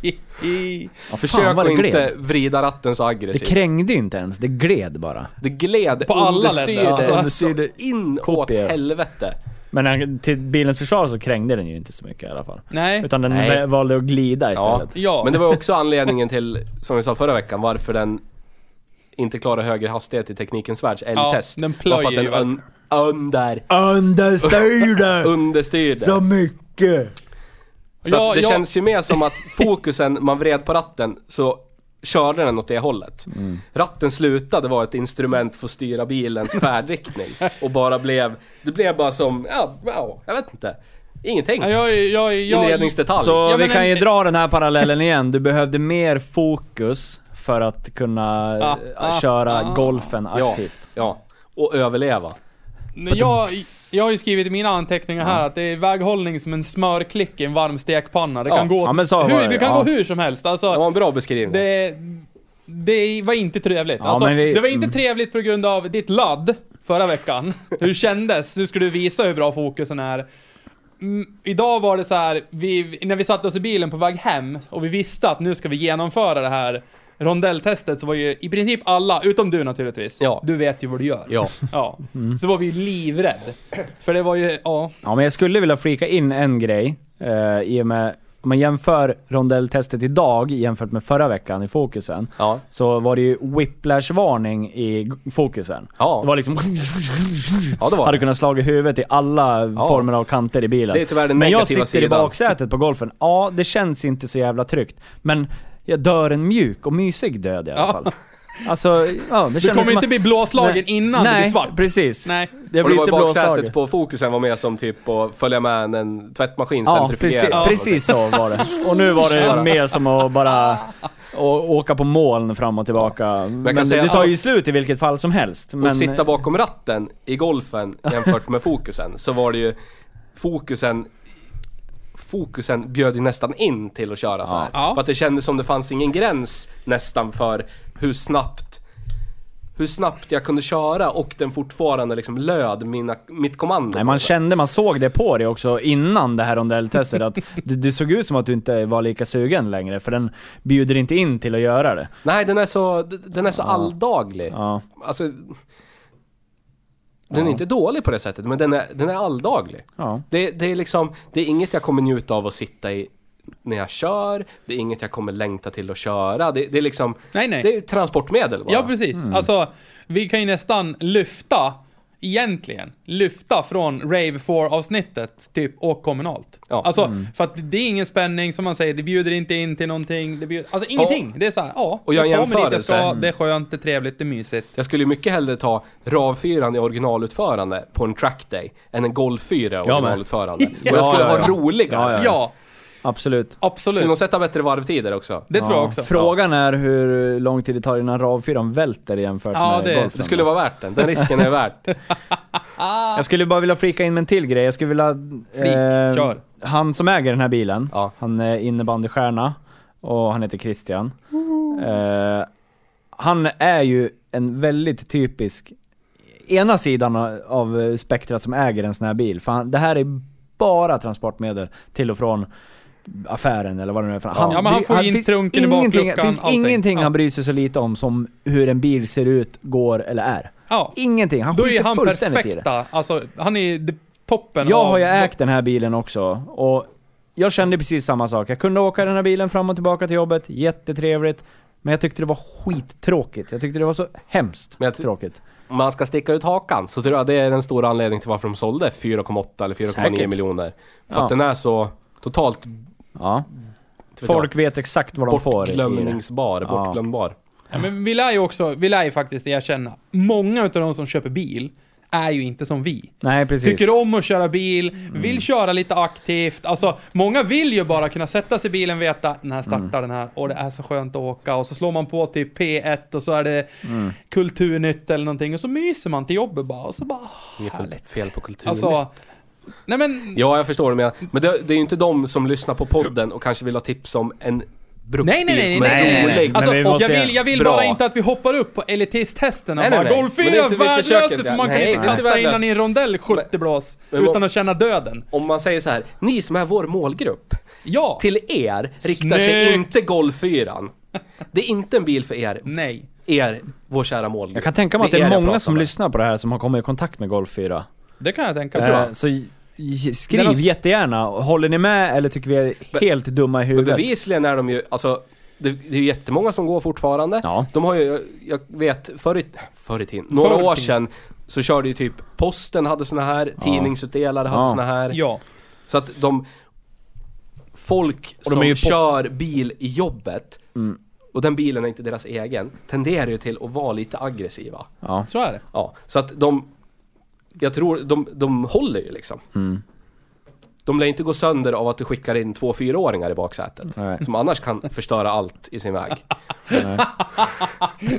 Ja,
Försök
fan vad
att
det
inte
gled.
vrida ratten så
Det
aggressivt. Det,
krängde ju inte ens, det gled bara.
gled
På alla
understyrde,
länder, alltså.
understyrde in åt
Kopiöst.
helvete.
Men han- till bilens försvar så krängde den ju inte så mycket i alla fall.
Nej.
Utan den
Nej.
vä- valde att glida
Ja.
istället.
Ja.
Men det var också anledningen till, som vi sa förra veckan, varför den inte klarar högre hastighet i Teknikens Världs L-test.
den plöjer
Var för att
ju
den un, under,
Understyrde!
understyrde.
mycket!
Så
Ja,
att det
ja.
känns ju mer som att fokusen, man vred på ratten, så körde den åt det hållet. Ratten slutade vara ett instrument för att styra bilens färdriktning. Och bara blev, det blev bara som, ja, ja jag vet inte. Ingenting.
Ja, jag, jag, jag,
Inredningsdetalj.
Så
Ja,
vi
men
kan
en-
ju dra den här parallellen igen. Du behövde mer fokus för att kunna
Ah,
eh,
ah,
köra golfen aktivt.
Ja, ja. Och överleva.
Nej, Jag, jag har ju skrivit i mina anteckningar här att det är väghållning som en smörklick i en varm stekpanna. Det
Ja,
kan, gå,
ja, men så var
hur,
det,
det kan
ja.
gå hur som helst.
Det
Alltså,
var en bra beskrivning.
det, det var inte trevligt.
Ja,
alltså,
men vi-
det var inte
mm.
trevligt på grund av ditt ladd förra veckan. Hur kändes? Nu ska du visa hur bra fokusen är. Mm, idag var det så här, vi, när vi satte oss i bilen på väg hem och vi visste att nu ska vi genomföra det här rondelltestet så var ju i princip alla, utom du naturligtvis.
Ja.
Du vet ju vad du gör.
Ja.
Ja.
Mm.
Så var vi ju livrädd. För det var ju, ja.
Ja, men jag skulle vilja flika in en grej. Eh, I och med, om man jämför rondelltestet idag jämfört med förra veckan i fokusen.
Ja.
Så var det ju whiplash-varning i g- fokusen.
Ja.
Det var liksom...
Ja, det var
Hade
det.
kunnat slå i huvudet i alla former av kanter i bilen.
Det är tyvärr den
Men jag
negativa
sitter i
sidan.
baksätet på golfen. Ja, det känns inte så jävla tryggt. Men jag dör en mjuk och mysig död i alla
Ja.
fall. Alltså, ja, det
Du
känns
kommer
som
inte bli blåslagen
Nej.
innan det
Nej,
blir svart.
precis.
Nej.
Det
Och
blir
det var i
inte
baksätet
blåslaget.
på fokusen var med som typ att följa med en tvättmaskin
Ja, precis,
centrifugerad.
precis så var det. Och nu var det mer som att bara å- åka på moln fram och tillbaka. Men,
säga
det tar
alla-
ju slut i vilket fall som helst. Men,
Och sitta bakom ratten i golfen jämfört med fokusen så var det ju fokusen Fokusen bjöd ju nästan in till att köra så här.
Ja.
För att det kändes som det fanns ingen gräns nästan för hur snabbt hur snabbt jag kunde köra och den fortfarande liksom löd mina, mitt kommando.
Nej, man kände, man såg det på dig också innan det här rondelltestet att det, det såg ut som att du inte var lika sugen längre för den bjuder inte in till att göra det.
Nej, den är så, den är så alldaglig.
Ja.
Alltså... Den är inte dålig på det sättet, men den är, den är alldaglig.
Ja.
Det, det är liksom, det är inget jag kommer njuta av att sitta i när jag kör. Det är inget jag kommer längta till att köra. Det, det är liksom...
Nej, nej.
Det är ett transportmedel bara.
Ja, precis.
Mm.
Alltså, vi kan ju nästan lyfta, egentligen, lyfta från Rave 4-avsnittet, typ, och kommunalt.
Ja.
Alltså,
Mm.
för att det är ingen spänning, som man säger, det bjuder inte in till någonting. Det bjuder, alltså ingenting. Det är så här, ja.
Och gör en
tar mig dit jag ska,
jämförelse.
Det är skönt, det är trevligt, det är mysigt.
Jag skulle ju mycket hellre ta RAV4 i originalutförande på en trackday än en Golf 4 i
men.
originalutförande. Och
Ja,
jag skulle
ja, ja.
ha roligare.
Ja,
ja. Absolut.
absolut.
Skulle de sätta bättre varvtider också?
Det tror jag
Ja.
också.
Frågan är hur lång tid det tar innan RAV4 välter jämfört
Ja,
med
det-
golfen.
Det skulle vara värt den. Den risken är värt.
Jag skulle bara vilja flika in med en till grej. Jag skulle vilja... eh,
Flik, kör.
Han som äger den här bilen,
Ja.
han är innebandystjärna och han heter Christian. Eh, han är ju en väldigt typisk, ena sidan av spektrat som äger en sån här bil. För han, det här är bara transportmedel till och från affären eller vad det nu är för
Ja, men han får in
finns
trunken i
ingenting-
bakluckan,
finns
allting.
ingenting
Ja.
han bryr sig så lite om som hur en bil ser ut, går eller är.
Ja.
Ingenting. Han
Då
skiter
är han
fullständigt i det.
perfekta. Alltså, han är det- toppen
Jag
av...
har ju ägt den här bilen också och jag kände precis samma sak. Jag kunde åka den här bilen fram och tillbaka till jobbet, jättetrevligt. Men jag tyckte det var skittråkigt. Jag tyckte det var så hemskt
Men jag ty-
tråkigt.
Om man ska sticka ut hakan så tror jag det är den stora anledningen till varför de sålde 4,8 eller 4,9
Säkert.
miljoner. För
Ja.
att den är så totalt
Ja.
vet
Folk vet exakt vad de får. i det.
bortglömningsbar,
Ja.
bortglömbar.
Ja, men vi lär ju också, vi lär ju faktiskt erkänna, många utav de som köper bil är ju inte som vi.
Nej, precis. Mm.
Tycker om att köra bil, vill köra lite aktivt. Alltså, många vill ju bara kunna sätta sig i bilen och veta den här startar
Mm.
den här och det är så skönt att åka och så slår man på till P1 och så är det
Mm.
Kulturnytt eller någonting och så myser man till jobbet bara och så bara... "Ah,
Inget fel,
Härligt.
fel på kulturen.
Alltså... Nej men...
Ja, jag förstår det men, men det, det är ju inte de som lyssnar på podden och kanske vill ha tips om en
Nej
bruksbil
nej nej, nej
som är
nej nej.
rolig.
Men
Alltså,
vi
och jag
måste-
vill, jag vill
Bra.
bara inte att vi hoppar upp på elitisttesterna
Nej,
och bara
nej, nej.
Golf
Men det är inte- vi
är
försöker
värdelöst
inte.
för man kan
Nej,
ju
det är
inte
inte
kasta in
värdelöst.
den i en rondell 70 blås
men vad-
utan att känna döden.
Om man säger så här, ni som är vår målgrupp,
Ja!
till er riktar sig
Snyggt.
inte Golf 4. Det är inte en bil för er,
Nej.
er, vår kära målgrupp.
Jag kan tänka mig att det
er
är
jag
många
pratar
som
med.
lyssnar på det här som har kommit i kontakt med Golf 4.
Det kan jag tänka
Jag
mig.
tror
Eh,
det.
Så j- j- skriv
Men alltså-
jättegärna. Håller ni med eller tycker vi är helt dumma i
Men
huvudet?
bevisligen är de ju, alltså det, det är ju jättemånga som går fortfarande.
Ja.
De har ju, jag, jag vet, förr i, förr i tiden, några
Förr i
år
tiden.
sedan så körde ju typ posten hade såna här, tidningsutdelare hade
Ja.
såna här.
Ja.
Så att de... Folk
Och de
som
är ju på-
kör bil i jobbet,
Mm.
och den bilen är inte deras egen, tenderar ju till att vara lite aggressiva.
Ja.
Så är det.
Ja, så att de... Jag tror de, de håller ju liksom. De lär inte gå sönder av att du skickar in två fyraåringar i baksätet.
Nej.
Som annars kan förstöra allt i sin väg.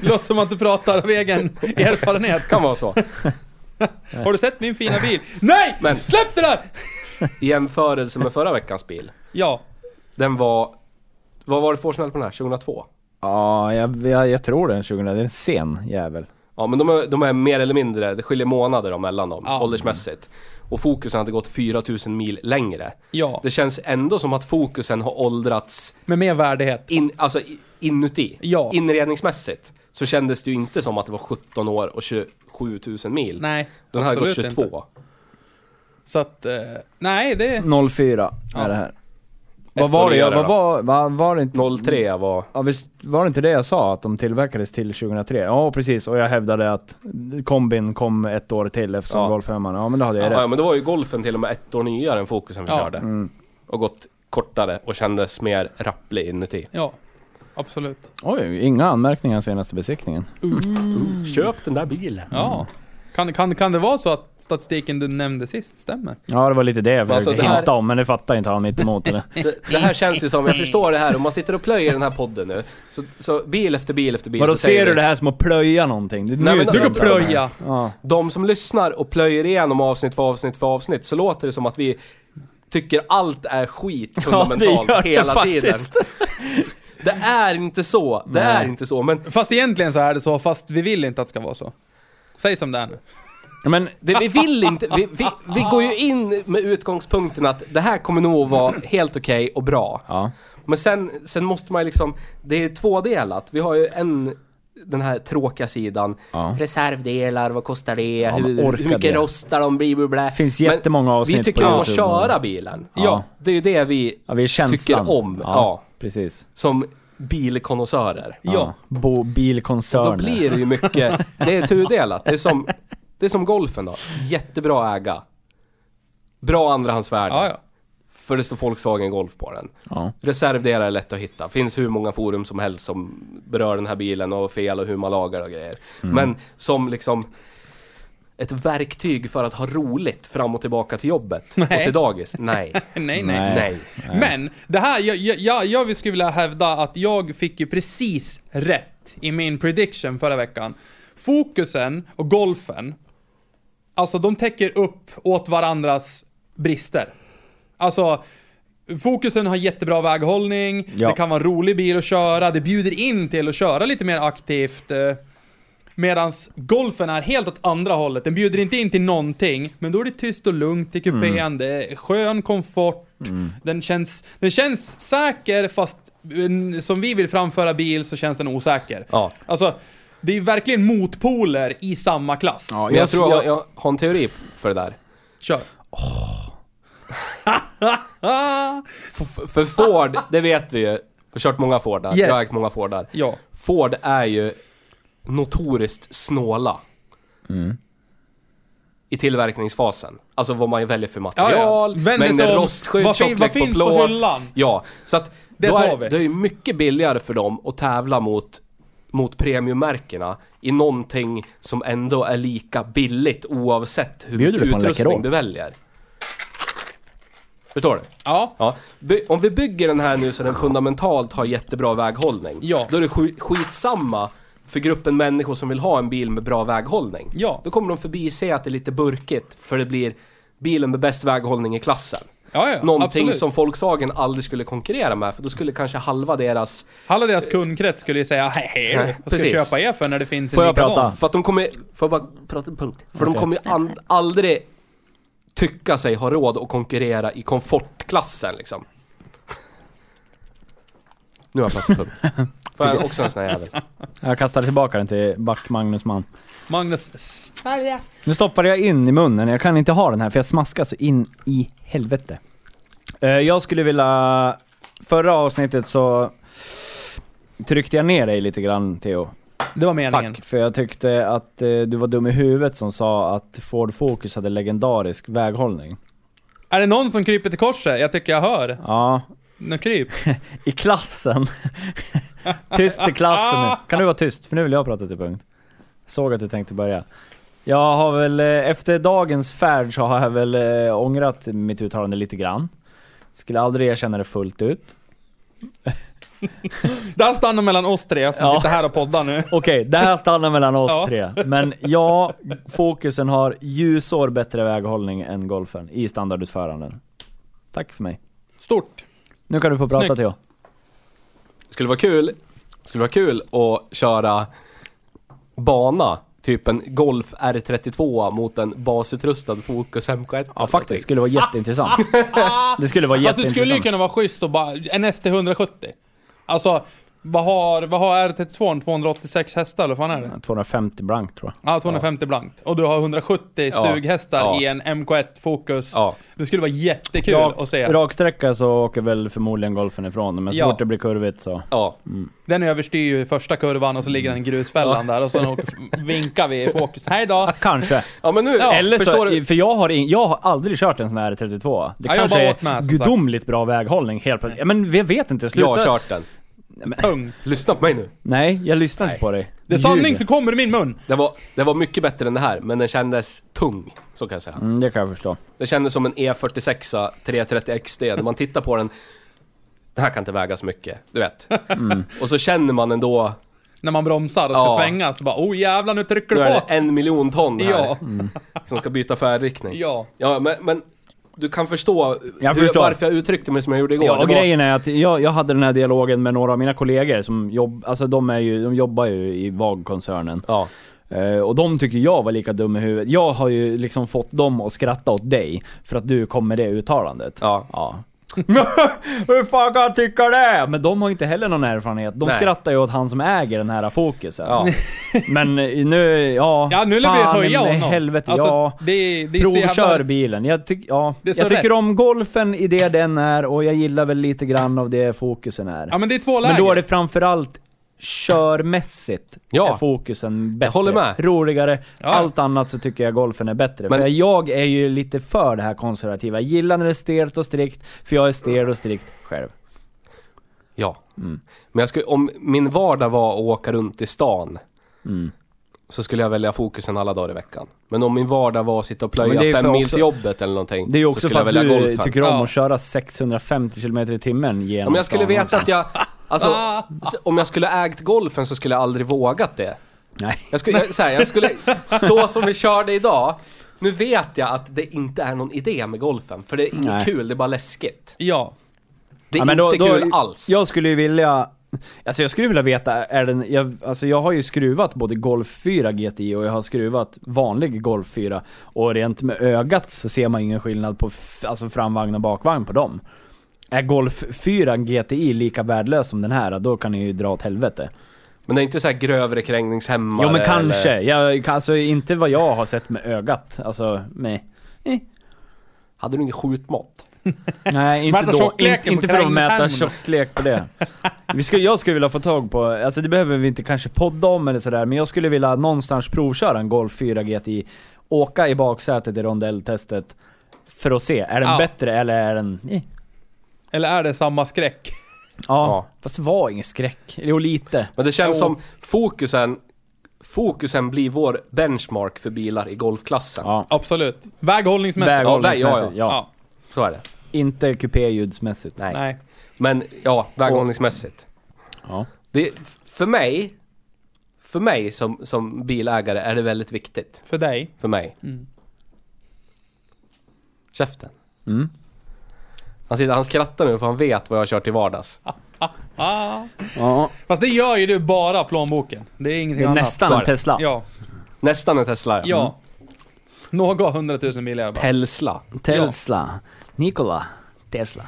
Låter som att du pratar av egen erfarenhet.
Kan vara så.
Har du sett min fina bil? Nej!
Men-
Släpp det där!
I jämförelse med förra veckans bil.
Ja.
Den var... Vad var det för årsmodell på den här? 2002?
Ja, jag, jag, jag tror det. är en 2000. Det är en sen jävel.
Ja, men de är, de är mer eller mindre, det skiljer månader då mellan dem,
Ja.
åldersmässigt. och fokusen hade gått 4000 mil längre.
Ja,
Det känns ändå som att fokusen har åldrats
med mer värdighet.
in, alltså i- inuti.
Ja.
Inredningsmässigt så kändes det ju inte som att det var 17 år och 27 000 mil.
Nej,
Den här har gått
absolut
22.
Inte. Så att, eh, nej det...
04
Ja.
är det här. Vad var
år
det jag,
nyare
vad var,
då.
vad var det inte?
Mm.
03 var...
Ja visst, var det inte det jag sa? Att de tillverkades till 2003? Ja precis, och jag hävdade att kombin kom ett år till eftersom
Ja.
Golfhemman, ja men då hade jag
Ja, ja,
rätt.
men då var ju golfen till och med ett år nyare än fokusen vi
Ja. Mm.
körde. Och gått kortare och kändes mer rapplig inuti.
Ja, absolut.
Mm.
Oj, inga anmärkningar senaste besiktningen.
Mm.
Köp den där bilen.
Ja. Kan, kan, kan det vara så att statistiken du nämnde sist stämmer?
Ja det var lite det jag försökte
Alltså, det här-
hinta om, men det fattar inte han mitt emot eller?
Det, det här känns ju som, jag förstår det här, om man sitter och plöjer den här podden nu, så, så bil efter bil efter bil
Vadå,
så säger
ser du
vi-
det här som att plöja någonting? Det är
Nej,
nu
men
Du
du
kan
kan
plöja!
Ja.
De som lyssnar och plöjer igenom avsnitt för avsnitt för avsnitt så låter det som att vi tycker allt är skit fundamentalt
gör det
hela tiden.
faktiskt.
Det är inte så, det
Nej.
är inte så. Men
Fast egentligen så är det så, fast vi vill inte att det ska vara så. Säg som det är nu.
Men
det, vi vill inte, vi, vi, vi går ju in med utgångspunkten att det här kommer nog vara helt okej och bra.
Ja.
Men sen, sen måste man ju liksom, det är tvådelat. Vi har ju en, den här tråkiga sidan.
Ja.
Reservdelar, vad kostar det?
men
hur,
orkar
hur mycket
det?
rostar de? Bli, bli, bli.
Finns
Men
jättemånga avsnitt
Vi tycker
på
om att
YouTube.
köra bilen. Ja.
Ja.
det är ju det vi,
Ja, vi är känslan.
tycker om. Ja.
Precis.
som bilkonnässörer.
Ja.
Bo, bilkoncerner.
Då blir det ju mycket, det är tudelat. Det är som, det är som golfen då. Jättebra äga. Bra andrahandsvärde.
Ja, ja.
För det står Volkswagen Golf på den.
Ja.
Reservdelar är lätt att hitta. Finns hur många forum som helst som berör den här bilen och fel och hur man lagar och grejer. Men som liksom ett verktyg för att ha roligt fram och tillbaka till jobbet och
Nej.
till dagis. Nej.
Nej, nej.
Nej.
Nej.
Men, det här, jag, jag- jag, jag skulle vilja hävda att jag fick ju precis rätt i min prediction förra veckan. Fokusen och golfen, alltså de täcker upp åt varandras brister. Alltså, fokusen har jättebra väghållning,
Ja.
det kan vara en rolig bil att köra, det bjuder in till att köra lite mer aktivt. Eh, Medan golfen är helt åt andra hållet. Den bjuder inte in till någonting, men då är det tyst och lugnt i kupén. Det är skön komfort. Den, känns, den känns säker, fast eh, som vi vill framföra bil så känns den osäker.
Ja.
Alltså, det är verkligen motpoler i samma klass.
Ja,
Men jag tror jag, jag har en teori för det där.
Kör.
F- För Ford, det vet vi ju. Jag har kört många Fordar.
Yes.
Jag har ägt många Fordar.
Ja.
Ford är ju notoriskt snåla.
Mm.
I tillverkningsfasen. Alltså vad man väljer för material,
Ja, ja. Vänder sig
mängden
om.
rostskydd,
Vad fin-
tjocklek
vad
på
finns på
plåt.
hyllan?
Ja, så att
Det
då
tar
är,
vi.
det är ju mycket billigare för dem att tävla mot, mot premiummärkena i någonting som ändå är lika billigt oavsett hur
Bjuder
mycket
du på en
utrustning
Läkerol?
du väljer. Förstår du?
Ja.
Ja, by- om vi bygger den här nu så den fundamentalt har jättebra väghållning.
Ja.
Då är det sk- skitsamma för gruppen människor som vill ha en bil med bra väghållning.
Ja.
Då kommer de förbi se att det är lite burkigt för det blir bilen med bäst väghållning i klassen.
Ja, ja,
Någonting
absolut.
som Volkswagen aldrig skulle konkurrera med för då skulle kanske halva deras...
Alla deras kundkrets skulle ju säga hej,
Nej,
vad ska jag
precis.
köpa er för när det finns en
Får jag
likadan?"
prata?
För att de kommer... Får jag bara prata en punkt? För de kommer ju an- aldrig tycka sig ha råd att konkurrera i komfortklassen liksom. Nu har jag pratat punkt. Får jag också en sån här jävel?
Jag kastar tillbaka den till back Magnus man.
Magnus, s-
Nu stoppade jag in i munnen, jag kan inte ha den här för jag smaskar så in i helvete. Eh, Jag skulle vilja... Förra avsnittet så tryckte jag ner dig lite grann Theo.
det var meningen.
För jag tyckte att eh, du var dum i huvudet som sa att Ford Focus hade legendarisk väghållning.
Är det någon som kryper till korset? Jag tycker jag hör.
Ja,
Nu kryp.
i klassen. tyst i klassen nu. Kan du vara tyst? För nu vill jag prata till punkt. Såg att du tänkte börja. Jag har väl, eh, efter dagens färd så har jag väl eh, ångrat mitt uttalande lite grann. Skulle aldrig erkänna det fullt ut.
Det här stannar mellan oss tre, jag ska
Ja.
sitta här och podda nu.
Okej, det här stannar mellan oss
Ja.
tre. Men ja, fokusen har ljusår bättre väghållning än golfen i standardutföranden. Tack för mig.
Stort.
Nu kan du få prata
Snyggt.
Theo.
Skulle vara kul, skulle vara kul att köra bana typ en Golf R32 mot en basutrustad Focus MK1.
Ja, faktiskt. Skulle vara jätteintressant. Det skulle vara
Fast det
jätteintressant.
skulle ju kunna vara schysst att bara, en ST170. Alltså, vad har, vad har R32? 286 hästar eller vad fan är det?
250 blank tror jag.
Ja, 250 blankt. Och du har 170
Ja.
sughästar
Ja.
i en MK1 Focus.
Ja.
Det skulle vara jättekul att se.
Raksträcka så åker väl förmodligen golfen ifrån, men så
Ja.
fort det blir kurvigt så...
Ja.
Den överstyr ju första kurvan och så ligger den i grusfällan där och sen åker, vinkar vi i fokus. Hej då!
Kanske.
ja, men nu...
Eller så,
förstår du?
för jag har, in, jag har aldrig kört en sån här 32 Det
Ja, jag
kanske
bara
är
åt med, som sagt.
gudomligt bra väghållning helt plötsligt. Ja, Men vi vet inte,
Jag
sluta...
har kört den.
Tung.
Lyssna på mig nu.
Nej, jag lyssnar inte på dig.
Det är sanning som kommer i min mun!
Det var, det var mycket bättre än det här, men den kändes tung. Så kan jag säga.
Mm, det kan jag förstå.
Det kändes som en E46 330 XD. När man tittar på den... Den här kan inte väga så mycket, du vet.
Mm.
Och så känner man ändå...
När man bromsar och ska
Ja.
svänga så bara oh jävlar nu trycker
Nu
du
är det
på!
en miljon ton här.
Ja.
Mm.
Som ska byta färdriktning.
Ja.
Ja, men, men du kan förstå,
Jag
hur,
förstår.
varför jag uttryckte mig som jag gjorde igår.
Ja,
Det
och
var-
grejen är att jag, jag hade den här dialogen med några av mina kollegor som jobb, alltså de, är ju, de jobbar ju i VAG-koncernen.
Ja.
Eh, och de tycker jag var lika dum i huvudet. Jag har ju liksom fått dem att skratta åt dig för att du kom med det uttalandet.
Ja.
Hur fan kan jag tycka det? Men de har ju inte heller någon erfarenhet. De
Nej.
skrattar ju åt han som äger den här fokusen.
Ja.
Men nu, ja...
Ja nu vill vi
fan
höja
i
honom.
helvete,
Alltså,
ja.
det, är- det är så
Provkör
jävla-
bilen. Jag, tyck, ja.
Det är
jag
så
tycker
rätt.
om golfen i det den är och jag gillar väl lite grann av det fokusen är.
Ja men det är två läger.
men då är det framförallt körmässigt
Ja.
är fokusen bättre.
håller med.
Roligare. Allt annat så tycker jag golfen är bättre.
Men-
för jag är ju lite för det här konservativa. Jag gillar när det är stelt och strikt, för jag är stel och strikt själv.
Ja. Men jag skulle, om min vardag var att åka runt i stan,
Mm.
så skulle jag välja fokusen alla dagar i veckan. Men om min vardag var att sitta och
Men
plöja
det är ju
fem
för
mil
också-
till jobbet eller någonting,
Det är ju
så
också
skulle
för
jag
att
välja
du
golfen.
tycker om
Ja.
att köra 650 km i timmen genom
Om jag skulle
stan
veta
också.
att jag... Alltså, s- om jag skulle ägt golfen så skulle jag aldrig vågat det.
Nej.
Jag skulle, jag, så, här, jag skulle, så som vi körde idag, nu vet jag att det inte är någon idé med golfen. För det är inget
Nej.
kul, det är bara läskigt.
Ja.
Det är
Ja, men då-
inte
då-
kul alls.
Jag skulle ju vilja... Alltså jag skulle vilja veta, är den... Jag, alltså jag har ju skruvat både Golf 4 GTI och jag har skruvat vanlig Golf 4. Och rent med ögat så ser man ingen skillnad på f- alltså framvagn och bakvagn på dem. Är Golf 4 GTI lika värdelös som den här, då kan ni ju dra åt helvete.
Men det är inte så här grövre krängningshämmare
Jo men
Eller,
kanske. Jag, alltså inte vad jag har sett med ögat. Alltså, nej.
hade du ingen skjutmått?
Nej, inte
Mäta
då. In,
tjockleken på
inte för att mäta
krängshämmen.
tjocklek på det. Vi skulle, jag skulle vilja få tag på, alltså det behöver vi inte kanske podda om eller sådär, men jag skulle vilja någonstans provköra en Golf 4 GTI, åka i baksätet i rondelltestet för att se, är den
Ja.
bättre eller är den... Ja.
Eller är det samma skräck?
ja. Fast det var ingen skräck. Jo, lite.
Men det känns som fokusen, fokusen blir vår benchmark för bilar i golfklassen.
Ja.
Absolut. Väghållningsmässigt.
Väg-
Väghållningsmässigt,
ja, ja,
ja.
Ja.
Så är det.
Inte kupéljudsmässigt.
Nej.
Men ja, väghållningsmässigt.
Ja.
Det, för mig, för mig som, som bilägare är det väldigt viktigt.
För dig.
För mig.
Mm.
Käften.
Mm.
Han, sitter, han skrattar nu för han vet vad jag har kört i vardags.
Ah.
Ja.
Fast det gör ju du bara plånboken. Det är
Det
ingenting
är
annat.
nästan
Så är
en
det.
Tesla. Mm.
Ja.
Nästan en Tesla. Mm.
Ja. Några hundratusen mil i alla fall.
Tesla.
Tesla. Nikola. Tesla.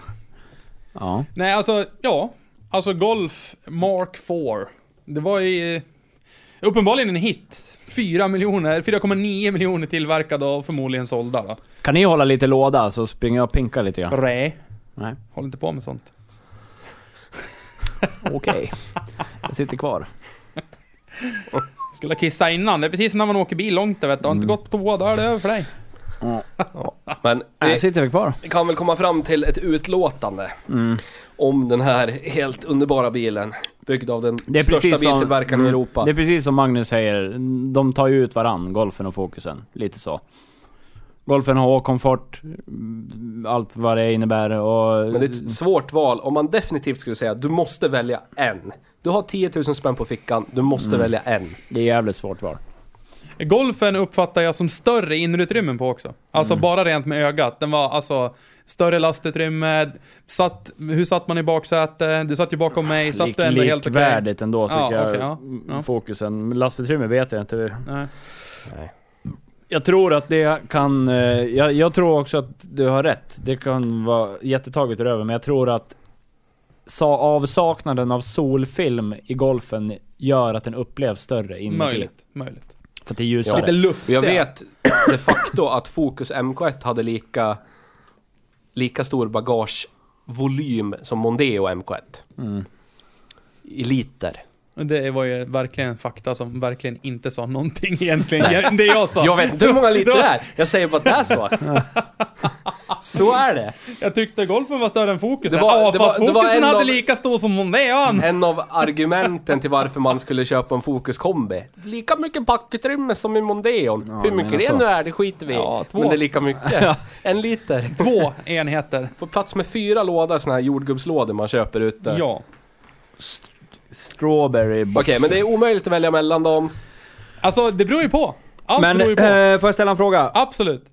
Ja.
Nej, alltså, ja. Alltså Golf Mark 4. Det var ju... eh, Uppenbarligen en hit. 4 miljoner, 4,9 miljoner tillverkade och förmodligen sålda då.
Kan ni hålla lite låda så springer jag och pinkar lite grann?
Rä.
Nej.
Håll inte på med sånt.
Okej. Jag sitter kvar.
Skulle kissa innan. Det är precis när man åker bil långt där vet du. Har
Mm.
inte gått på toa, då är det över för dig.
Men
Nej,
vi-
jag sitter väl kvar.
Vi kan väl komma fram till ett utlåtande
Mm.
om den här helt underbara bilen. Byggd av den
Det är
största
precis som- Mm.
biltillverkaren i Europa.
Det är precis som Magnus säger, de tar ju ut varann, golfen och fokusen. Lite så. Golfen har komfort, mm, allt vad det innebär och...
Men det är ett svårt val. Om man definitivt skulle säga du måste välja
Mm.
en. Du har 10 000 spänn på fickan, du måste välja en.
det är jävligt svårt val.
Golfen uppfattar jag som större innerutrymmen på också. Alltså
Mm.
bara rent med ögat. Den var alltså större lastutrymme, satt, hur satt man i baksäte? Du satt ju bakom mig, satt
Lik,
du ändå helt okej?
likvärdigt ändå tycker
Ja,
jag.
okej, ja, ja.
Fokusen. Lastutrymme vet jag inte.
Nej.
Jag tror att det kan... eh, Jag, jag tror också att du har rätt. Det kan vara jättetaget över, men jag tror att sa, avsaknaden av solfilm i golfen gör att den upplevs större inuti.
Möjligt, möjligt.
För att det är
Ja.
ljusare.
Lite
Och jag
luftigare.
vet de facto att Focus MK1 hade lika, lika stor bagagevolym som Mondeo MK1.
Mm.
I liter.
Och Det var ju verkligen fakta som verkligen inte sa någonting egentligen. Jag, det jag sa.
Jag vet inte hur många liter det är. Jag säger bara att det är så. Så är det.
Jag tyckte golfen var större än fokusen.
Det var-
ja,
det
fast
var- det var
fokusen
en
hade
av-
lika stor som Mondean.
En av argumenten till varför man skulle köpa en Focus kombi. Lika mycket packutrymme som i Mondeon. hur mycket
men
det
så.
nu är, det skiter vi i.
alltså- Ja, två.
Men det är lika mycket. En liter.
Två enheter.
Får plats med fyra lådor såna här jordgubbslådor man köper ute.
Ja.
Strawberry box.
Okej, men det är omöjligt att välja mellan dem.
Alltså, det beror ju på. Allt
Men,
beror ju på.
eh, får jag ställa en fråga?
Absolut.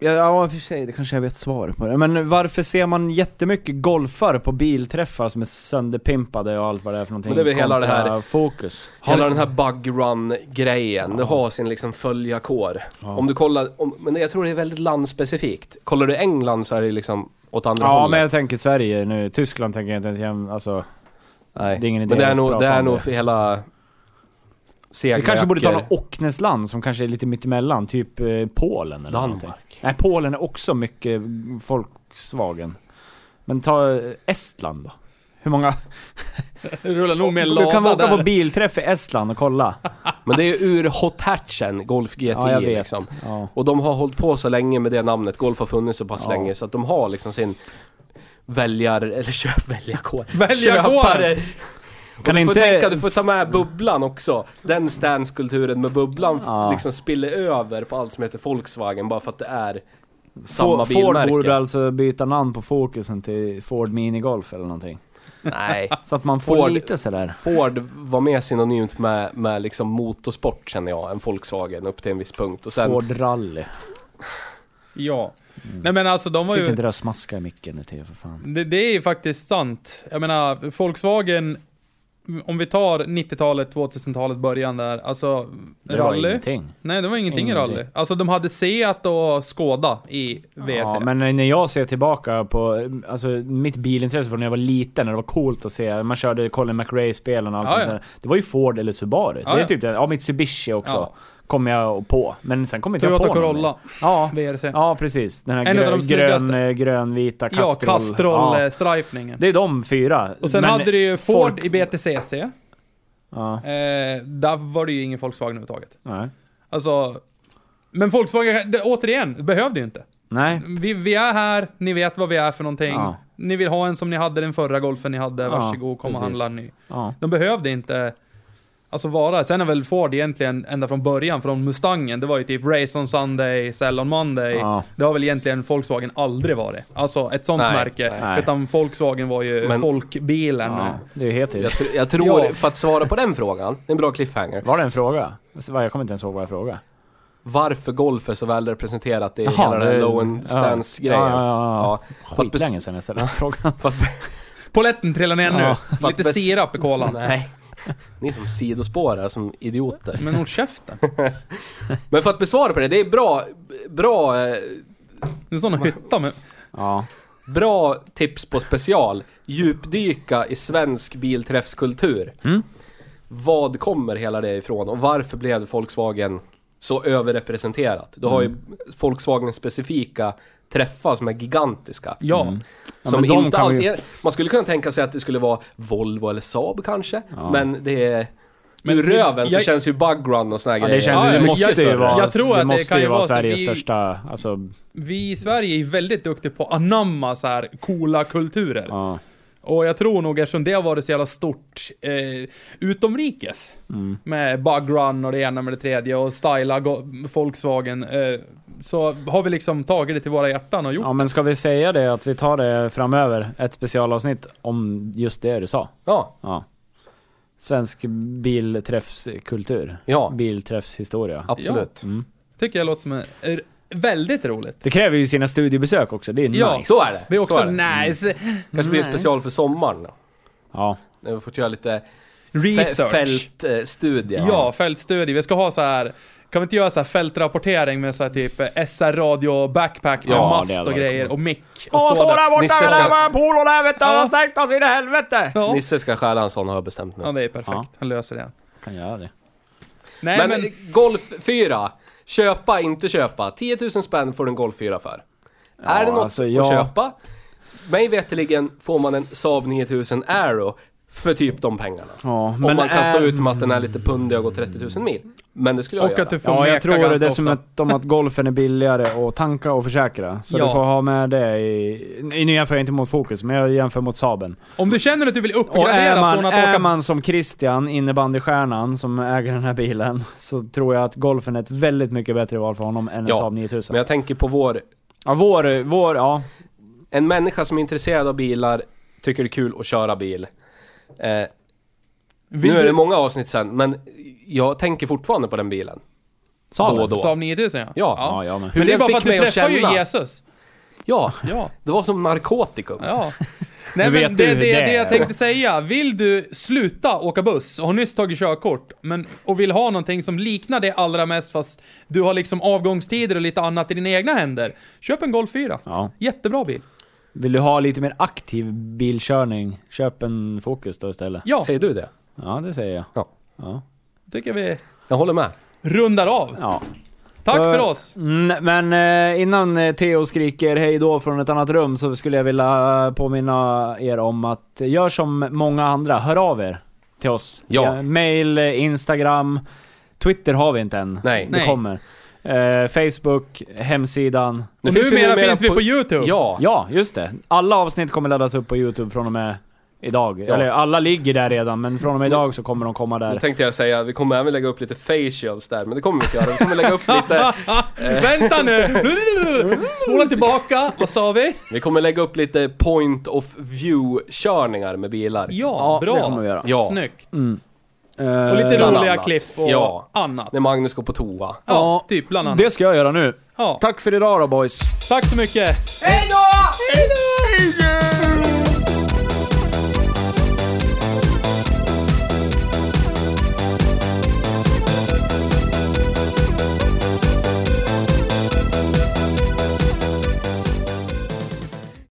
Ja, ja, i och för sig, det kanske jag vet svar på det. Men varför ser man jättemycket golfar på bilträffar som är sönderpimpade och allt vad det är för någonting?
Men det är väl hela det här-
kontra Fokus.
Hela den här bug run-grejen, det har sin liksom följarkår. Om du kollar, om, men jag tror det är väldigt landspecifikt. Kollar du England så är det liksom åt andra
Ja,
hållet.
men jag tänker Sverige nu. Tyskland tänker jag inte ens jämn... Alltså...
Nej.
det är ingen idé
men det är
att
nog,
prata
det är
om
nog
det.
för hela... Segla
Vi kanske borde ta
jackor.
något Ocknesland som kanske är lite mittemellan, typ eh, Polen eller
Danmark.
någonting. Nej, Polen är också mycket folksvagen. Men ta eh, Estland då. Hur många...
Det rullar nog med
Du kan
lada
åka på
där.
bilträff i Estland och kolla.
Men det är ju ur hot hatchen, Golf GTI
Ja, jag vet.
liksom.
Ja.
Och de har hållit på så länge med det namnet, Golf har funnits så pass
Ja.
länge så att de har liksom sin väljar... eller köp väljarkår.
Väljarkår!
Köpare.
Kan
Kan du, får
inte-
tänka, du får ta med bubblan också. Den stanskulturen med bubblan
Ja.
liksom spiller över på allt som heter Volkswagen bara för att det är samma
Samma Ford borde
bilmärke.
alltså byta namn på fokusen till Ford Minigolf eller någonting.
Nej.
Så att man får
Ford-
lite sådär...
Ford var mer synonymt med, med liksom motorsport känner jag, än Volkswagen upp till en viss punkt. Och sen,
Ford Rally.
Ja. Nej men alltså, de var
Sitt
ju...
inte där och smaska i micken nu Theo för fan.
Det, det är ju faktiskt sant. Jag menar, Volkswagen, om vi tar 90-talet, 2000-talet, början där. Alltså,
Det var
rally.
ingenting.
Nej, det var ingenting i
Ingenting.
rally. Alltså, de hade Seat och Skoda i VRC.
Ja, men när jag ser tillbaka på alltså, mitt bilintresse från när jag var liten, när det var coolt att se, man körde Colin McRae-spelen och allt
Ja,
sånt
ja.
där. Det var ju Ford eller Subaru.
Ja,
det är
ja.
typ det. Ja, Mitsubishi också.
Ja.
Kom jag på. Men sen kom inte jag på
Toyota
någon mer.
Corolla,
Ja.
VRC.
ja, precis. Den här
En av de
grön,
snyggaste.
grön, eh, grönvita
Ja,
Castrol. Ja.
Castrol-stripningen.
Det är de fyra.
och sen
Men
hade du ju Ford
folk-
i BTCC. Eh,
Ja,
där var det ju ingen Volkswagen överhuvudtaget.
nej.
Alltså, men Volkswagen, det, återigen, behövde ju inte.
nej.
Vi, vi är här, ni vet vad vi är för någonting.
Ja.
Ni vill ha en som ni hade den förra golfen ni hade,
Ja,
varsågod kom och
precis.
handla en ny.
Ja.
De behövde inte alltså vara, sen är väl Ford egentligen ända från början, från Mustangen, det var ju typ Race on Sunday, Sell on Monday.
Ja.
Det har väl egentligen Volkswagen aldrig varit. Alltså ett sånt
Nej,
märke.
nej.
Utan Volkswagen var ju
Men-
folkbilen.
ja. Det är ju helt
jag,
tydligt.
tr- jag tror,
Ja.
för att svara på den frågan, det är en bra cliffhanger.
Var det en fråga? Alltså, Jag kommer inte ens ihåg vad jag frågade.
varför golf är så väl representerat i
Jaha,
hela den här
det-
low and stance-grejen.
Ja, ja, ja,
För att bes-
Skitlänge sen jag ställde den frågan.
För att,
Poletten trillar ner
Ja,
nu.
för att
Lite
bes-
sirap i kolan.
nej. Ni är som sidospårar, som idioter.
Men håll käften.
Men för att besvara på det, det är bra, bra, eh,
Det är sån hytta med...
Ja.
bra tips på special. Djupdyka i svensk bilträffskultur.
Mm.
Vad kommer hela det ifrån och varför blev Volkswagen så överrepresenterat? Du har ju
Mm.
Volkswagen specifika träffar som är gigantiska.
Ja.
Mm. Ja,
som
men de
inte
kan
alls
ju-
är, Man skulle kunna tänka sig att det skulle vara Volvo eller Saab kanske,
Ja.
men det är...
Men
ur
det-
röven
jag-
så känns ju bug run och såna här
Ja, det
grejer.
känns
Ja,
det
men
måste
jag-
ju vara,
jag tror att
det
det
måste
kan
ju
ju
vara
vara så.
Sveriges
Vi-
största, alltså,
Vi i Sverige är väldigt duktiga på att anamma så här coola kulturer.
ja.
Och jag tror nog eftersom det har varit så jävla stort eh, utomrikes.
Mm.
Med bug run och det ena med det tredje och styla go- Volkswagen. Eh, så har vi liksom tagit det till våra hjärtan och gjort
ja men ska vi säga det att vi tar det framöver, ett specialavsnitt om just det du sa?
Ja,
Ja. Svensk bilträffskultur.
Ja,
Bilträffshistoria.
absolut.
Mm.
Tycker jag låter som en, är väldigt roligt.
Det kräver ju sina studiebesök också, det är
Ja,
nice.
så är det.
Det är också
Så är det.
nice.
Kanske blir en
Nej.
special för sommaren. då.
Ja.
När vi får göra lite
Mm. Research.
fältstudier.
Ja, fältstudie. Vi ska ha så här. Kan vi inte göra så här fältrapportering med så här typ eh, SR radio backpack med
Ja, det hade
mast och
varit
grejer
coolt.
och mick och
Åh,
stå
står
där.
där borta!
Nisse
Nisse
ska-
ska... var en polo där vet du! Han
Ja.
har sänkt oss in i helvete!
Ja,
Nisse ska stjäla en sån har jag bestämt nu.
ja, det är perfekt.
Ja.
Han löser det.
Kan göra det.
Nej
men,
men,
Golf 4. Köpa, inte köpa. 10 000 spänn får du en Golf 4 för. är det något
alltså, jag-
att köpa? Mig veterligen får man en Saab 9000 Aero för typ de pengarna.
Ja,
Om
men
man kan stå
är-
ut med att den är lite pundig och går 30 000 mil. Men det skulle jag
och
göra.
att du får
Ja,
meka
jag tror
ganska ofta.
dessutom att golfen är billigare att tanka och försäkra. Så
Ja.
du får ha med det i... i- Nu jämför jag inte mot Fokus, men jag jämför mot Saben.
Om du känner att du vill
Och
uppgradera
är man,
från att
är
åka...
man som Christian, innebandystjärnan, som äger den här bilen, så tror jag att golfen är ett väldigt mycket bättre val för honom än en
Ja,
Saab 9000.
Men jag tänker på vår...
Ja, vår, vår, ja.
En människa som är intresserad av bilar, tycker det är kul att köra bil. Eh,
Vill
nu är
du-
det många avsnitt sen, men jag tänker fortfarande på den bilen. Då och
Saben.
då.
Saab 9000 ja.
Ja.
Ja, jag med.
Hur
Men det är
den
bara för
fick
att du
mig att
träffar
känna.
ju Jesus.
Ja,
Ja.
det var som narkotikum.
Ja. Nej
vet
men det, det,
du hur
det,
det är.
jag tänkte säga. Vill du sluta åka buss och har nyss tagit körkort men, och vill ha någonting som liknar det allra mest fast du har liksom avgångstider och lite annat i dina egna händer. Köp en Golf 4.
Ja.
Jättebra bil.
Vill du ha lite mer aktiv bilkörning, köp en Fokus då istället.
Ja,
Säger du det?
Ja, det säger jag.
Ja.
Ja.
tycker vi
Jag håller med.
rundar av.
ja.
Tack
Eh,
för oss.
Mm, men eh, innan eh, Theo skriker hej då från ett annat rum så skulle jag vilja eh, påminna er om att gör som många andra, hör av er till oss.
Ja.
Eh, Mail, eh, Instagram, Twitter har vi inte än.
Nej.
Det
Nej.
kommer. Eh, Facebook, hemsidan.
Och
finns vi
numera
numera
finns vi
på-
på YouTube.
Ja.
Ja, just det. Alla avsnitt kommer laddas upp på Youtube från och med idag.
Ja.
Eller alla ligger där redan, men från och med idag så kommer de komma
Nu
där.
tänkte jag säga, vi kommer även lägga upp lite facials där, men det kommer vi inte göra. Vi kommer lägga upp lite,
Vänta nu! Spola tillbaka. Vad sa vi?
vi kommer lägga upp lite point of view-körningar med bilar.
Ja,
det
bra.
kommer vi göra.
Ja.
Snyggt.
Eh,
Och lite
Bland
roliga
annat.
klipp och
Ja.
annat.
När Magnus går på toa.
Ja, typ bland annat.
Det ska jag göra nu.
Ja.
Tack för idag då boys.
Tack så mycket.
Hej då! Hej då!